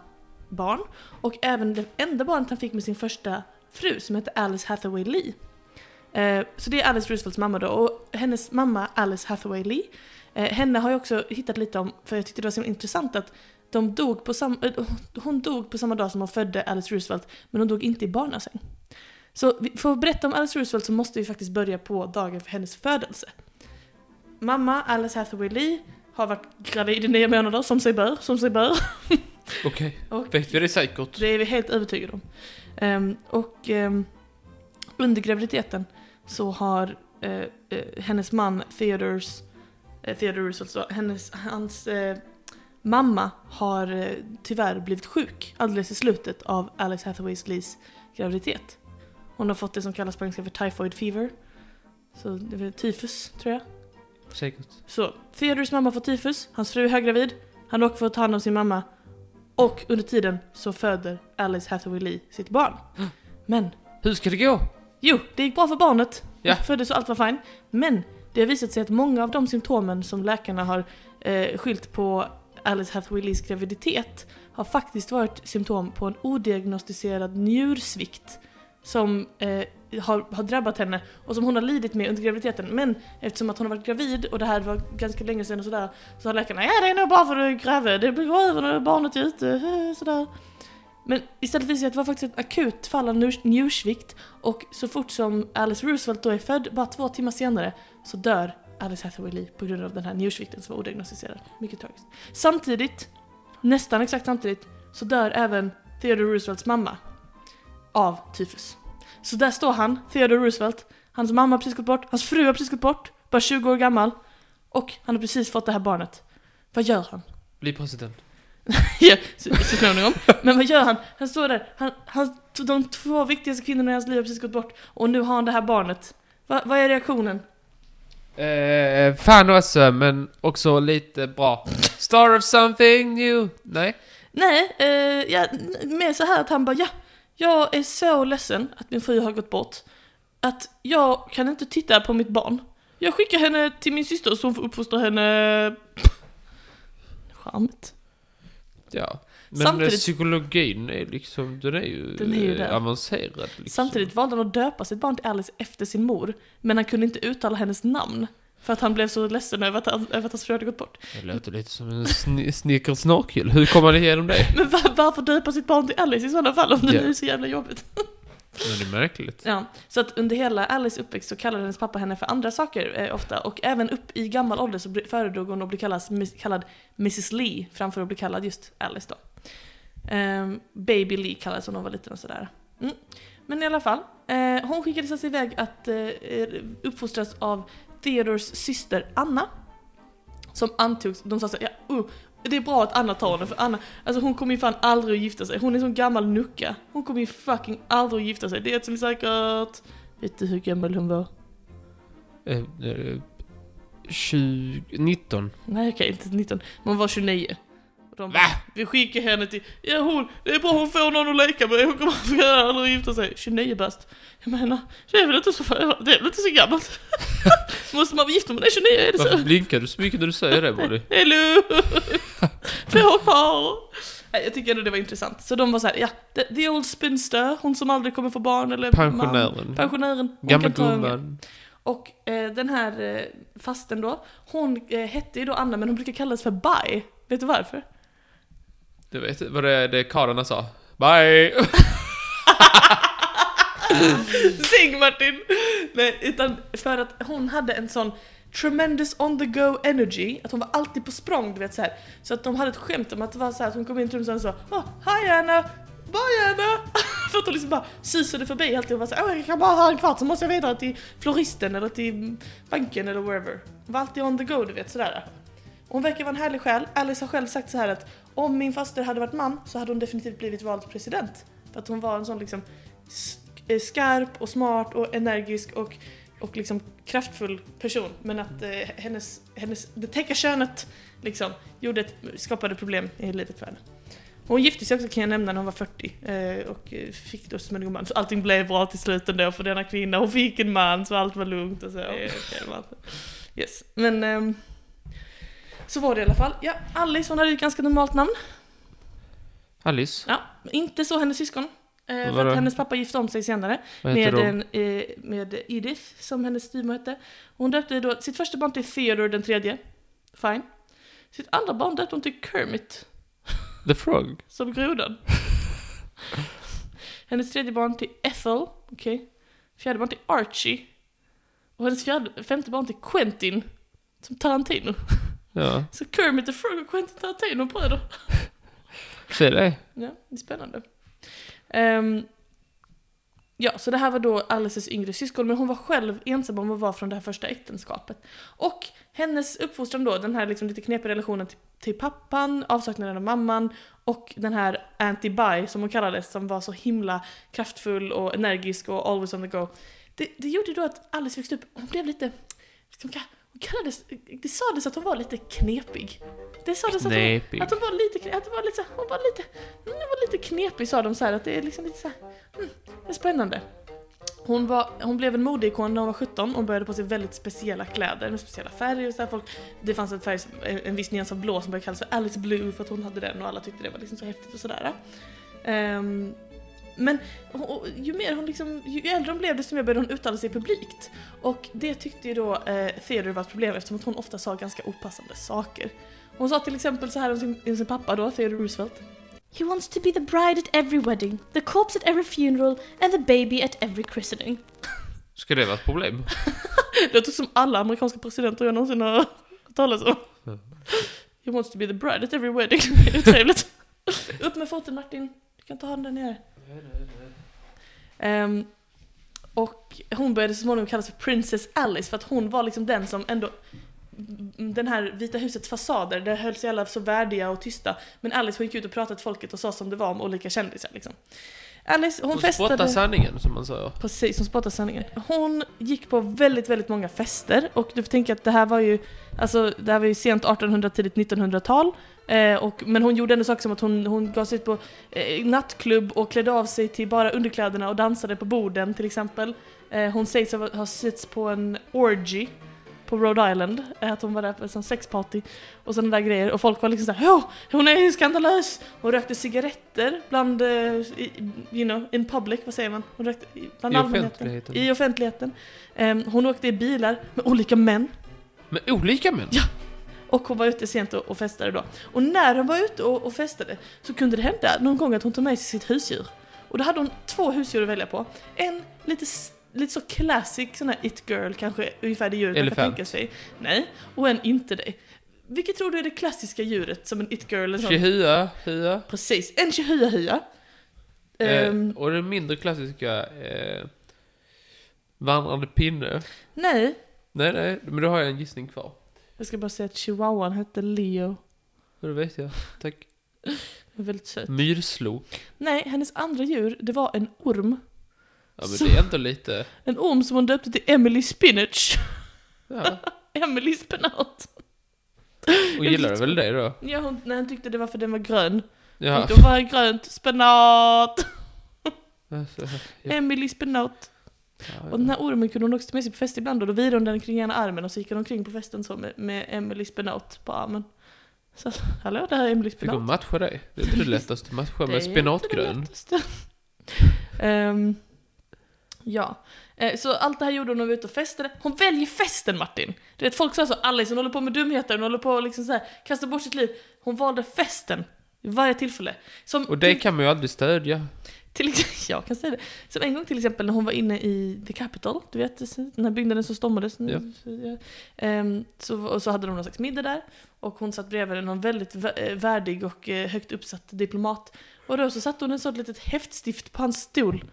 barn. Och även det enda barnet han fick med sin första fru som hette Alice Hathaway Lee. Eh, Så det är Alice Roosevelts mamma då och hennes mamma Alice Hathaway Lee. eh, Henne har jag också hittat lite om för jag tyckte det var så intressant att de dog på sam- eh, hon dog på samma dag som hon födde Alice Roosevelt men hon dog inte i barnassäng. Så vi- för att berätta om Alice Roosevelt så måste vi faktiskt börja på dagen för hennes födelse. Mamma Alice Hathaway Lee har varit gravid i nio månader som sig bör, som sig bör. Okej. Och- Vet vi det säkert? Det är vi helt övertygade om. Ehm, och ehm, under graviditeten så har eh, eh, hennes man Theodors, eh, Theodore Roosevelt, så hennes, hans eh, mamma har eh, tyvärr blivit sjuk alldeles i slutet av Alice Hathaway Lees graviditet. Hon har fått det som kallas på engelska för typhoid fever. Så det är väl tyfus, tror jag. Säkert. Så, Theodors mamma får tyfus, hans fru är höggravid, han åker för att ta hand om sin mamma Och under tiden så föder Alice Hathaway Lee sitt barn. Men Hur ska det gå? Jo, det gick bra för barnet. Ja. Det föddes och allt var fine. Men det har visat sig att många av de symptomen som läkarna har eh, skyllt på Alice Hathaway Lees graviditet har faktiskt varit symptom på en odiagnostiserad njursvikt som eh, har, har drabbat henne och som hon har lidit med under graviditeten. Men eftersom att hon har varit gravid och det här var ganska länge sedan och sådär så har läkarna ja det är nog bra för du är gravid, det går över när barnet är ute, eh, sådär. Men istället visade det sig att det var faktiskt ett akut fall av njurs- njursvikt och så fort som Alice Roosevelt då är född, bara två timmar senare, så dör Alice Hathaway Lee på grund av den här njursvikten som var odiagnostiserad. Mycket tragiskt. Samtidigt, nästan exakt samtidigt, så dör även Theodore Roosevelts mamma av tyfus. Så där står han, Theodore Roosevelt, hans mamma har precis gått bort, hans fru har precis gått bort, bara 20 år gammal, och han har precis fått det här barnet. Vad gör han? Bli president. Ja, så, så småningom. Men vad gör han? Han står där, han, han, de två viktigaste kvinnorna i hans liv har precis gått bort och nu har han det här barnet. Va, vad är reaktionen? Eh, fan också, men också lite bra. Star of something new. Nej. Nej, eh, ja, n- mer så här att han bara ja, jag är så ledsen att min fru har gått bort att jag kan inte titta på mitt barn. Jag skickar henne till min syster så hon får uppfostra henne... <laughs> Charmigt. Ja. Men Samtidigt- eh, psykologin är liksom, den är ju, Den är ju eh, där. avancerad. Liksom. Samtidigt valde han att döpa sitt barn till Alice efter sin mor, men han kunde inte uttala hennes namn. För att han blev så ledsen över att, han, över att hans fru hade gått bort. Det låter lite som en sn- <laughs> snickersnorkel. Hur kommer man <laughs> igenom det? Men var, varför döpa sitt barn till Alice i sådana fall om det Ja. nu är så jävla jobbigt? Men det är märkligt. Ja, så att under hela Alice uppväxt så kallade hennes pappa henne för andra saker eh, ofta och även upp i gammal ålder så bli- föredrog hon att bli kallas, miss, kallad Mrs Lee framför att bli kallad just Alice då. Ehm, Baby Lee kallades hon när hon var liten och sådär. Mm. Men i alla fall, eh, hon skickades alltså iväg att eh, uppfostras av Theodors syster Anna. Som antogs, de sa såhär, ja, uh, det är bra att Anna tar henne för Anna, alltså hon kommer ju fan aldrig att gifta sig. Hon är en sån gammal nucka. Hon kommer ju fucking aldrig att gifta sig, det är ett som är säkert. Vet du hur gammal hon var? Eh, eh, 20, 19. Nej okej, inte 19, men hon var 29. Och de Va? bara, vi skickar henne till, ja hon, det är bra hon får någon att leka med, hon kommer aldrig att gifta sig. 29 bast. Jag menar, det är väl inte så, för- det är väl inte så gammalt? <laughs> Måste man vara gift om man är 29? Är det så? Varför blinkar du så mycket när du säger <laughs> det, Molly? Det är <laughs> lugnt. Två kvar. Nej, Jag tycker ändå det var intressant. Så de var så här, ja, the, the old spinster, hon som aldrig kommer få barn eller man. Pensionären. Pensionären. hon Gamla kan ta unga. gumman. Och eh, den här eh, fasten då, hon eh, hette ju då Anna men hon brukar kallas för Bai. Vet du varför? Du vet vad det, det karlarna sa? Bye! <laughs> <laughs> Sing Martin! Nej, utan för att hon hade en sån tremendous on the go energy, att hon var alltid på språng, du vet så här. Så att de hade ett skämt om att det var så här att hon kom in till rummet och sa oh, Hi Anna! Bye Anna! <laughs> för att hon liksom bara susade förbi alltid och var såhär oh, jag kan bara ha en kvart så måste jag vidare till floristen eller till banken eller wherever. Hon var alltid on the go, du vet sådär. Hon verkar vara en härlig själ. Alice har själv sagt så här att om min faster hade varit man så hade hon definitivt blivit vald till president. För att hon var en sån liksom s- eh, skarp och smart och energisk och, och liksom kraftfull person. Men att eh, hennes, hennes, det täcka könet liksom gjorde ett, skapade problem i livet för henne. Hon gifte sig också kan jag nämna när hon var 40 eh, och eh, fick då så småningom man. Så allting blev bra till slut ändå för denna kvinna. Hon fick en man så allt var lugnt och så. Eh, okej, det var inte- Yes. Men ehm, så var det i alla fall. Ja, Alice hon hade ju ett ganska normalt namn. Alice. Ja, inte så hennes syskon. Eh, för Vadå? att hennes pappa gifte om sig senare Vad heter med, de? en, eh, med Edith, som hennes styvmor hette. Hon döpte då sitt första barn till Theodore den tredje. Fine. Sitt andra barn döpte hon till Kermit, The Frog. som grodan. <laughs> hennes tredje barn till Ethel, okej. Fjärde barn till Archie. Och hennes fjärde, femte barn till Quentin, som Tarantino. Ja, Så Kermit the Frog och Quentin Tarantino bröder. se det. Ja, det är spännande. Ehm, ja, så det här var då Alices yngre syskon, men hon var själv ensam om att vara från det här första äktenskapet. Och hennes uppfostran då, den här liksom lite knepiga relationen till, till pappan, avsaknaden av mamman och den här Auntie Bye som hon kallades, som var så himla kraftfull och energisk och always on the go. Det, det gjorde då att Alice växte upp, hon blev lite, vad ska man kalla- Hon kallades, det sades att hon var lite knepig. Det sades att hon, Knepig. att hon var lite kne- att hon var lite, så här- hon var lite, hon var lite knepig sa de så här att det är liksom lite så här, mm, det är spännande. Hon, var, hon blev en modeikon när hon var 17 och började på sig väldigt speciella kläder med speciella färger och så här folk, Det fanns en färg, som- en en viss nyans av blå som började kallas för Alice Blue för att hon hade den och alla tyckte det var liksom så häftigt och sådär. Ehm, men och, och, ju mer hon liksom, ju äldre hon blev desto mer började hon uttala sig publikt. Och det tyckte ju då eh, Theodore var ett problem eftersom att hon ofta sa ganska opassande saker. Hon sa till exempel så här om sin, om sin pappa då, Theodore Roosevelt. He wants to be the bride at every wedding, the corpse at every funeral, and the baby at every christening. Ska det vara ett problem? Det låter som alla amerikanska presidenter jag någonsin har hört talas om. Mm. He wants to be the bride at every wedding. Det är trevligt. Upp med foten Martin, du kan ta handen ner. Ehm, och hon började så småningom kallas för Princess Alice för att hon var liksom den som ändå den här Vita husets fasader, där höll sig alla så värdiga och tysta. Men Alice hon gick ut och pratade till folket och sa som det var om olika kändisar liksom. Alice hon, Hon festade... spottar sanningen som man säger. Precis, hon spottar sanningen. Hon gick på väldigt, väldigt många fester och du får tänka att det här var ju, alltså, det här var ju sent 1800, tidigt 1900-tal. Eh, och, men hon gjorde ändå saker som att hon, hon gav sig ut på eh, nattklubb och klädde av sig till bara underkläderna och dansade på borden till exempel. Eh, hon sägs ha ha setts på en orgy på Rhode Island, eh, att hon var där på en sån sexparty och sådana där grejer. Och folk var liksom såhär Åh, hon är skandalös! Hon rökte cigaretter bland, eh, i, you know, in public, vad säger man? Hon rökte i- bland I allmänheten. offentligheten. I offentligheten. Ehm, hon åkte i bilar med olika män. Men olika män? Ja. Och hon var ute sent och, och festade då. Och när hon var ute och, och festade så kunde det hända någon gång att hon tog med sig sitt husdjur. Och då hade hon två husdjur att välja på. En lite, s- lite så classic sån här it girl kanske, ungefär det djuret man kan Elefant. tänka sig. Nej, och en inte det. Vilket tror du är det klassiska djuret som en it girl eller sån? Chihua, hua. Precis, en chihuahua. Ehm, Eh, och den mindre klassiska eh, vandrande pinne. nej, Nej, nej, men då har jag en gissning kvar. jag ska bara säga att chihuahuan hette Leo. Ja, Det vet jag. Tack. Den var Väldigt Mm. söt. Myrslo. Nej, hennes andra djur, det var en orm. Ja, Så- men det är ändå lite... En orm som hon döpte till Emily Spinach. Ja. Emily Spenat. Och gillar väl det då? Ja, hon, nej, hon tyckte det var för den var grön. Hon Ja. tyckte hon var grönt. Spenat! Alltså, ja. Emily Spenat. Och den här ormen kunde hon också ta med sig på fest ibland och då virade hon den kring ena armen och så gick hon omkring på festen så med, med Emily Spenat på armen. Så, hallå, det här är Emily Fick Spenat. hon matcha dig? Det är inte det lättaste att matcha Det är med inte det spenatgrön. lättaste. <laughs> Ehm, ja, Eh, så allt det här gjorde hon när hon var ute och festade. Hon väljer festen Martin! Du vet folk sa så, Alice hon håller på med dumheter, hon håller på och liksom så här, kastar bort sitt liv. Hon valde festen i varje tillfälle. Som Och det kan man ju aldrig stödja. till, till, <laughs> jag kan säga det. Som en gång till exempel när hon var inne i The Capital, du vet den här byggnaden som stormades. Ja. Så, så, och så hade de någon slags middag där och hon satt bredvid någon väldigt vä- eh, värdig och eh, högt uppsatt diplomat. Och då så satte hon en sån litet häftstift på hans stol.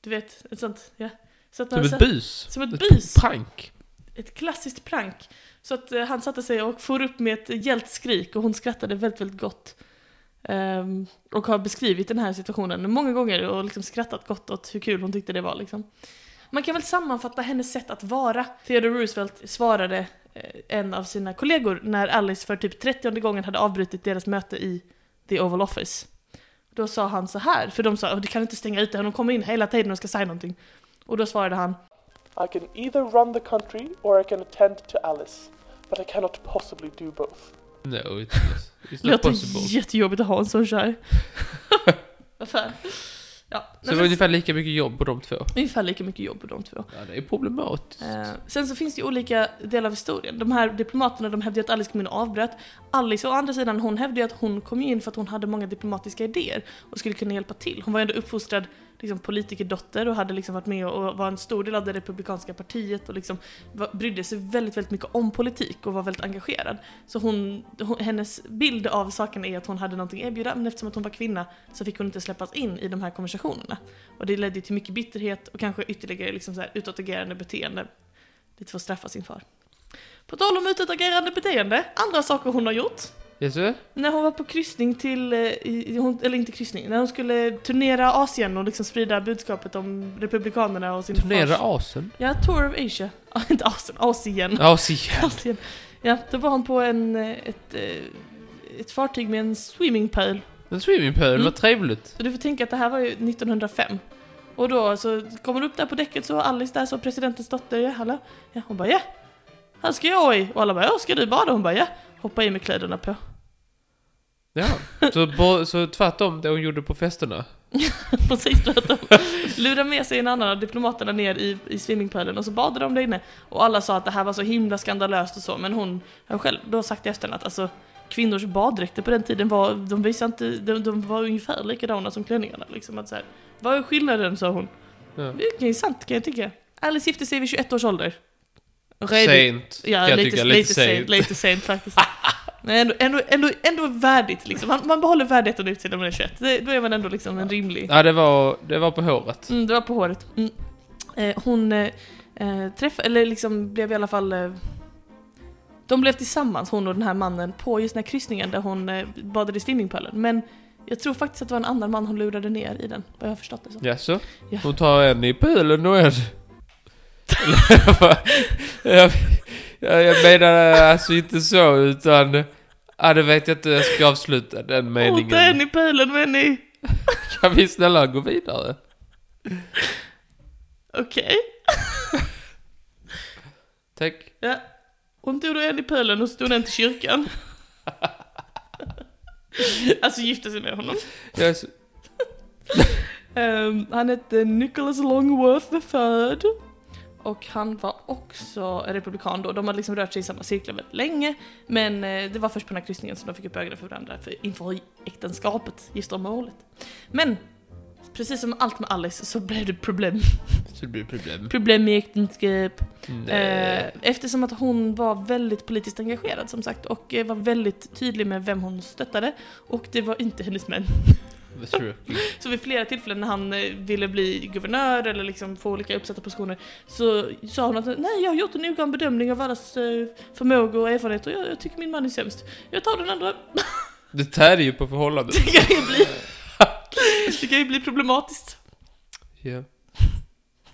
Du vet, ett sånt, ja. Så att Som när ett satt- bus. Som ett bus. Prank. Ett klassiskt prank. Så att eh, han satte sig och for upp med ett gällt skrik och hon skrattade väldigt, väldigt gott. Ehm, och har beskrivit den här situationen många gånger och liksom skrattat gott åt hur kul hon tyckte det var liksom. Man kan väl sammanfatta hennes sätt att vara. Theodore Roosevelt svarade eh, en av sina kollegor när Alice för typ 30 gången hade avbrutit deras möte i The Oval Office. Då sa han så här, för de sa att du kan inte stänga ute henne, hon kommer in hela tiden och ska säga någonting. Och då svarade han I can either run the country or I can attend to Alice, but I cannot possibly do both. No, it's, it's not Låter possible. jättejobbigt att ha en sån tjej. <laughs> Vad fan. Ja, Så det nej, var men, ungefär lika mycket jobb på de två. ungefär lika mycket jobb på de två. Ja, det är problematiskt. Eh, sen så finns det ju olika delar av historien. De här diplomaterna de hävdade ju att Alice kom in och avbröt. Alice å andra sidan hon hävdade ju att hon kom in för att hon hade många diplomatiska idéer och skulle kunna hjälpa till. Hon var ju ändå uppfostrad liksom, politikerdotter och hade liksom varit med och var en stor del av det republikanska partiet och liksom var, brydde sig väldigt, väldigt mycket om politik och var väldigt engagerad. Så hon, hon, hennes bild av saken är att hon hade någonting att erbjuda men eftersom att hon var kvinna så fick hon inte släppas in i de här konversationerna. Och det ledde ju till mycket bitterhet och kanske ytterligare liksom så här utåtagerande beteende lite för att straffa sin far. På tal om utåtagerande beteende, andra saker hon har gjort. Jesu? När hon var på kryssning till, eh, i- i- hon, eller inte kryssning, när hon skulle turnera Asien och liksom sprida budskapet om Republikanerna och sin Turnera fars... asen? Ja, Tour of Asia. Ja, inte Asien, Asien. Asien. Asien. Ja, då var hon på en, eh, ett, eh, ett fartyg med en swimming pool. En swimmingpool, Mm. vad trevligt. Så du får tänka att det här var ju 1905. Och då så kommer du upp där på däcket så Alice där så presidentens dotter, ja hallå? Ja, hon bara ja. Här ska jag i. Och alla bara ja, ska du bada? Hon bara ja. Hoppa i med kläderna på. <laughs> Ja. Så, bo, så tvärtom det hon gjorde på festerna. Precis tvärtom. Lura med sig en annan av diplomaterna ner i, i swimmingpoolen och så badade de där inne. Och alla sa att det här var så himla skandalöst och så, men hon har själv då sagt i efterhand att alltså kvinnors baddräkter på den tiden var, de visade inte, de, de var ungefär likadana som klänningarna liksom att så här, Vad är skillnaden sa hon. Ja. Det är ju sant kan jag tycka. Alice gifte sig vid 21 års ålder. Redigt. Sent, Ja, kan jag lite, tycka. lite sent. Lite sent <laughs> faktiskt. Men ändå, ändå, ändå, ändå värdigt liksom. Man, man behåller värdigheten ut till när man är 21. Det, då är man ändå liksom en rimlig... Ja, det var, det var på håret. Mm, det var på håret. Mm. Eh, hon eh, eh, träffade, eller liksom blev i alla fall... Eh, de blev tillsammans, hon och den här mannen, på just den här kryssningen där hon eh, badade i swimmingpoolen. Men jag tror faktiskt att det var en annan man hon lurade ner i den, vad jag har förstått det som. Jaså? Ja. Hon tar en i poolen och en... <laughs> Eller vad? jag, jag, jag menar alltså inte så, utan... Ja, det vet jag inte hur jag ska avsluta den Åh, ta en meningen. i poolen med en i... Kan vi snälla gå vidare? Okej. Tack. Ja. Hon tog då en i poolen och stod en till <laughs> kyrkan. alltså gifte sig med honom. Jag är så, Ehm, han hette Nicholas Longworth III. Och han var också republikan då. De hade liksom rört sig i samma cirklar väldigt länge. Men eh, det var först på den här kryssningen som de fick upp ögonen för varandra för inför äktenskapet, giftermålet. Men precis som allt med Alice så blev det problem. så det blir problem. Mm, Problem med äktenskap. Nej. Eh, eftersom att hon var väldigt politiskt engagerad som sagt och eh, var väldigt tydlig med vem hon stöttade och det var inte hennes män. <laughs> Vad tror du? Så vid flera tillfällen när han eh, ville bli guvernör eller liksom få olika uppsatta positioner så sa hon att nej jag har gjort en noggrann bedömning av allas eh, förmågor och erfarenheter jag, jag tycker min man är sämst. Jag tar den andra. <laughs> Det tär ju på förhållandet. Det kan ju bli, det kan ju bli problematiskt. Ja.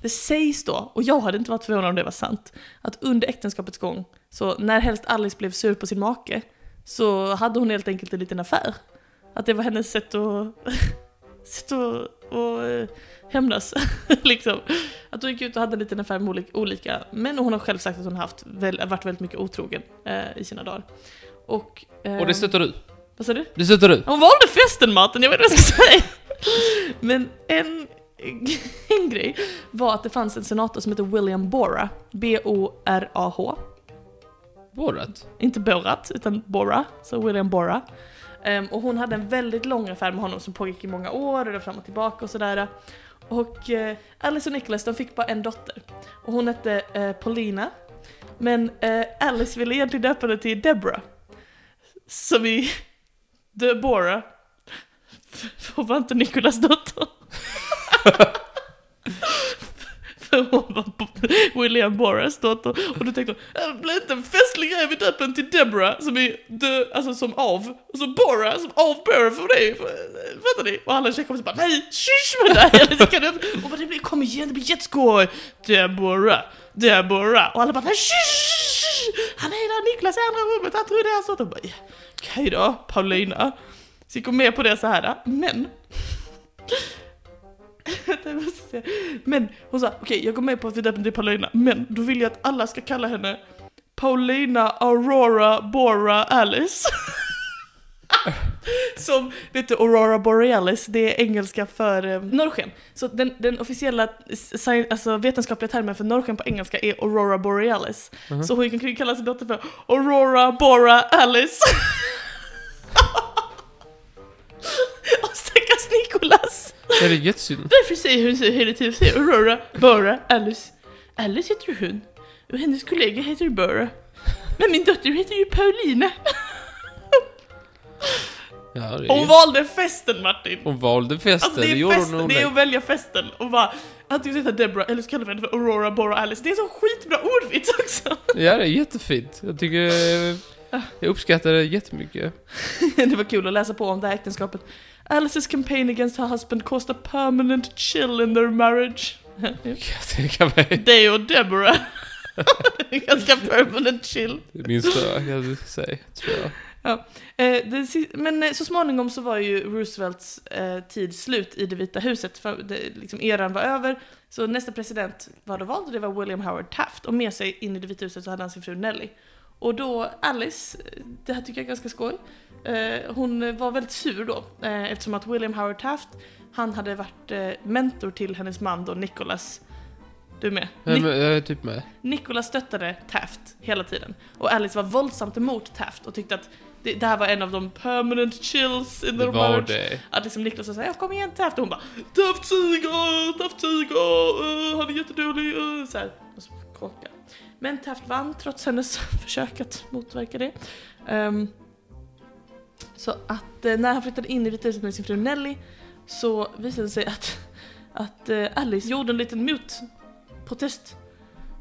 Det sägs då, och jag hade inte varit förvånad om det var sant, att under äktenskapets gång, så när helst Alice blev sur på sin make, så hade hon helt enkelt en liten affär. Att det var hennes sätt att... <laughs> sätt att, att eh, hämnas, <laughs> liksom. Att hon gick ut och hade en liten affär med olik- olika män, och hon har själv sagt att hon har haft, väl, varit väldigt mycket otrogen eh, i sina dagar. Och... eh, Och det stöttar du? Vad sa du? Det stöttar du? Hon valde festen Martin, jag vet inte vad jag ska säga. <laughs> Men en, en grej var att det fanns en senator som hette William Bora. B-O-R-A-H. Borat? Inte Borat, utan Bora. Så William Bora. Ehm, och hon hade en väldigt lång affär med honom som pågick i många år och då fram och tillbaka och sådär. Och eh, Alice och Nicholas de fick bara en dotter. Och hon hette eh, Paulina. Men eh, Alice ville egentligen döpa henne till Deborah. Så vi... <laughs> Deborah. <laughs> För var inte Nicholas dotter. <laughs> För hon var Bo- William Boras dotter. Och då tänkte hon, "Äh, det blir inte en festlig grej vi döper henne till Deborah som är dö, alltså som av. Och så Bora som av Bora för det. För, eh, fattar ni? Och alla tjejkompisar bara, nej, shush med dig! <laughs> Eller så kan du inte. Och bara, det blir, kom igen, det blir jätteskoj! Deborah, Deborah. Och alla bara, nej, shush! Han är där, Niklas i andra rummet, han tror det är hans dotter. Och bara, "Ja, Okej då, Paulina. Så jag går med på det så här, men... <laughs> Vänta, jag måste se. men hon sa, okej jag går med på att vi döper henne till Paulina, men då vill jag att alla ska kalla henne Paulina Aurora Bora Alice. <laughs> Som, vet du, Aurora Borealis, det är engelska för eh, norrsken. Så den, den officiella sci- alltså vetenskapliga termen för norrsken på engelska är Aurora Borealis. Mhm. Så hon kan ju kalla sin dotter för Aurora Bora Alice. <laughs> Och stackars Nicolas! Är det jättesynd? Varför säger hon så hela tiden? Säger Aurora, Bora, Alice. Alice heter hon. Och hennes kollega heter Bora. Men min dotter heter ju Paulina. Ja, det är... Hon valde festen Martin! Hon valde festen, Alltså det det, är, gjorde fest, hon nog. det är lätt. att välja festen och bara antingen så heter Deborah eller så kallar vi henne för Aurora Bora Alice. Det är så skitbra ordvits också! Ja, det är jättefint. Jag tycker... eh, Ah. Jag uppskattar det jättemycket. <laughs> det var kul att läsa på om det här äktenskapet. Alice's campaign against her husband caused a permanent chill in their marriage. Jag kan tänka mig. Day och Deborah. <laughs> Ganska permanent chill. Det minsta jag kan säga, tror jag. Eh, det, si- men eh, så småningom så var ju Roosevelts eh, tid slut i det Vita huset. För det, liksom eran var över. Så nästa president var då vald och det var William Howard Taft. Och med sig in i det Vita huset så hade han sin fru Nelly. Och då Alice, eh, det här tycker jag är ganska skoj. Eh, hon var väldigt sur då. Eh, eftersom att William Howard Taft, han hade varit eh, mentor till hennes man då Nicholas. Du med? Ja, men Jag är typ med. Nicolas stöttade Taft hela tiden och Alice var våldsamt emot Taft och tyckte att det, det här var en av de permanent chills in Det the var marriage. det. Att liksom Nicholas sa såhär, "Ja, kom igen Taft och hon bara Taft suger, Taft suger, uh, han är jättedålig, uh, såhär. Och så korkade. Men Taft vann trots hennes <laughs> försök att motverka det. Ehm, så att eh, när han flyttade in i Vita huset med sin fru Nelly så visade det sig att, att eh, Alice gjorde en liten motprotest.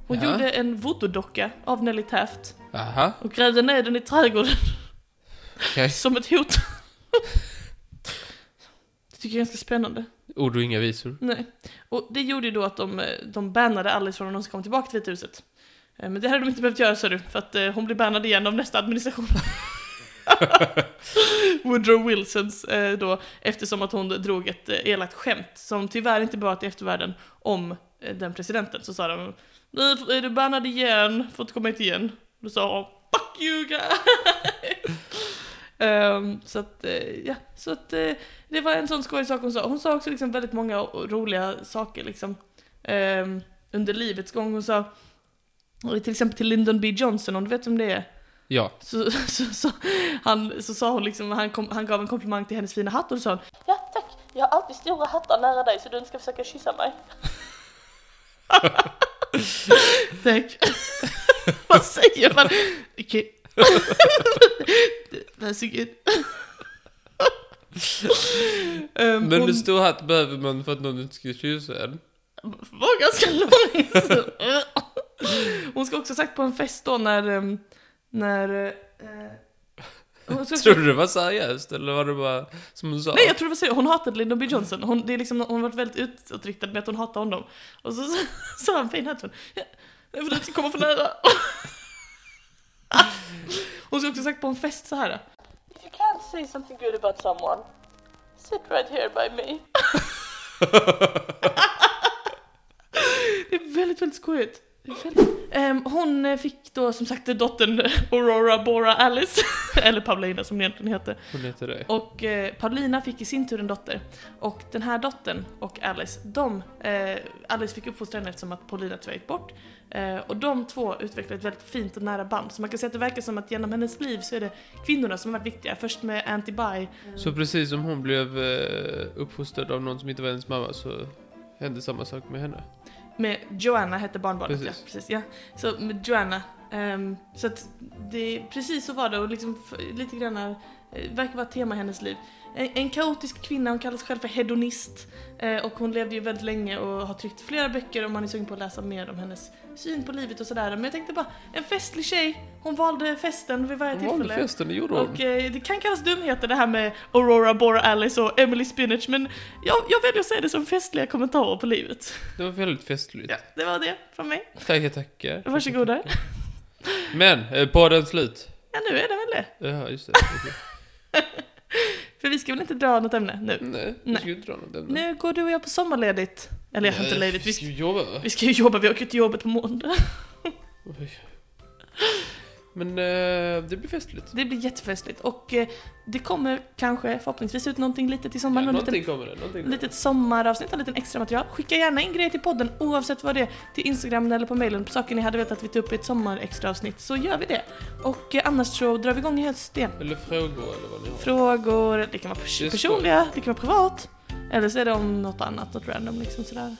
Hon Jaha. gjorde en voodoo-docka av Nelly Taft Aha, och grävde ner den i trädgården <laughs> okej. som ett hot. det tycker jag är ganska spännande. Ord och inga visor. Nej. Och det gjorde ju då att de, eh, de bannade Alice från att någonsin komma tillbaka till Vita huset. Eh, Men det hade de inte behövt göra, sa du, för att eh, hon blir bannad igen av nästa administration. Woodrow Wilsons eh, då, eftersom att hon drog ett eh, elakt skämt som tyvärr inte bara till eftervärlden om eh, den presidenten. Så sa de Nu är du bannad igen, får inte komma hit igen. Då sa hon Fuck you guys! <laughs> Ehm, så att, eh, ja, så att eh, det var en sån skojig sak hon sa. Hon sa också liksom väldigt många o- roliga saker liksom. ehm, under livets gång. Hon sa till exempel till Lyndon B Johnson, om du vet vem det är. Ja. Så, <laughs> så, så, han, så sa hon liksom, han, kom, han gav en komplimang till hennes fina hatt och då sa hon Ja, tack. Jag har alltid stora hattar nära dig så du inte ska försöka kyssa mig. Tack. <laughs> Vad säger man? <laughs> Okej. That's good. um, Men hon hur stor hatt behöver man för att någon inte ska kyssa en? var ganska lång. <laughs> hon ska också ha sagt på en fest då när... ehm, när eh, hon ska också- Tror du det var seriöst eller var det bara som hon sa? Nej jag tror det var seriöst, hon hatade Lyndon B Johnson. Hon, det är liksom, hon har varit väldigt utåtriktad med att hon hatar honom. Och så <laughs> så- sa han fin hatt hon. Jag vill inte komma för nära. <laughs> Hon skulle också sagt på en fest så här. If you can't say something good about someone, sit right here by me. Det är väldigt, väldigt skojigt. Det är väldigt- Ehm, hon eh, fick då som sagt dottern Aurora Bora Alice, <laughs> eller Paulina som hon egentligen heter. Hon heter det. Och eh, Paulina fick i sin tur en dotter. Och den här dottern och Alice, de, eh, Alice fick uppfostra henne eftersom att Paulina tyvärr gick bort. Eh, och de två utvecklade ett väldigt fint och nära band. Så man kan säga att det verkar som att genom hennes liv så är det kvinnorna som har varit viktiga. Först med Auntie Bye. Så precis som hon blev eh, uppfostrad av någon som inte var hennes mamma så hände samma sak med henne. Med Joanna hette barnbarnet Precis. ja. Precis, ja. Så med Joanna. ehm, så att det, precis så var det och liksom f- lite grann eh, verkar vara ett tema i hennes liv. En, en kaotisk kvinna, hon kallas själv för hedonist eh, och hon levde ju väldigt länge och har tryckt flera böcker om man är sugen på att läsa mer om hennes syn på livet och sådär. Men jag tänkte bara, en festlig tjej, hon valde festen vid varje Hon valde tillfälle. festen, det gjorde hon. Och eh, det kan kallas dumheter det här med Aurora Bora Alice och Emily Spinach men jag, jag väljer att säga det som festliga kommentarer på livet. Det var väldigt festligt. Ja, det var det från mig. Tackar, tackar. Varsågoda. Men, eh, podden slut. Ja, nu är det väl det. Ja, <laughs> just det. Okej. För vi ska väl inte dra något ämne nu? Nej, vi Nej. ska ju inte dra något ämne. Nu går du och jag på sommarledigt. Eller jag har inte ledigt. Vi Vi ska, ska ju jobba va? vi ska ju jobba, vi åker till jobbet på måndag. Oj. Men eh, det blir festligt. Det blir jättefestligt och eh, det kommer kanske förhoppningsvis ut någonting litet i Ja, sommar. någon någonting liten, kommer det, någonting kommer det. litet sommaravsnitt, en liten extra material. Skicka gärna in grejer till podden oavsett vad det är. Till Instagram eller på mailen. Saker ni hade velat att vi tog upp i ett sommarextraavsnitt så gör vi det. Och eh, annars så drar vi igång i höst igen. Eller frågor eller vad ni har. Frågor, det kan vara Det är pers- skoj. personliga, det kan vara privat. Eller så är det om något annat, något random liksom sådär.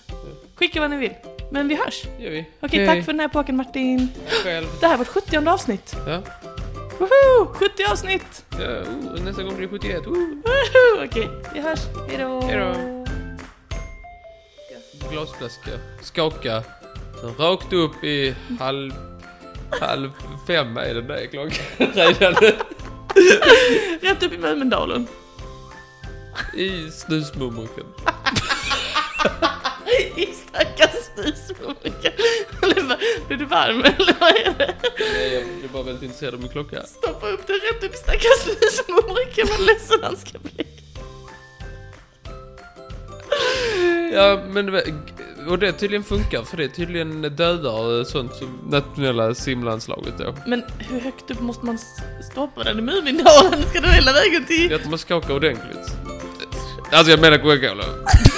Skicka vad ni vill. Men vi hörs. Det gör vi. Okej, tack för den här påken Martin. Själv. Det här var vårt 70 avsnitt. Ja. Woho! 70 avsnitt! Ja, oh, nästa gång blir det 71. Oh. Woho! Okej, vi hörs. Hejdå! Hejdå. Glasflaska. Skaka. Sen rakt upp i halv... Halv fem är den där klockan <laughs> redan. Rätt upp i Mölndalen. I snusmumriken. <laughs> I stackars snusmumriken. Eller vad- Blir du varm eller vad är det? Nej, jag blir bara väldigt intresserad av min klocka. Stoppa upp den rätt upp i stackars snusmumriken. Vad ledsen han ska bli. Ja, men det var- g- och det tydligen funkar för det tydligen dödar sånt som nationella simlandslaget då. Men hur högt upp måste man s- stoppa den i Mumindalen? Ska du hela vägen till... Jag tror man ska åka ordentligt. Alltså jag menar Coca-Cola.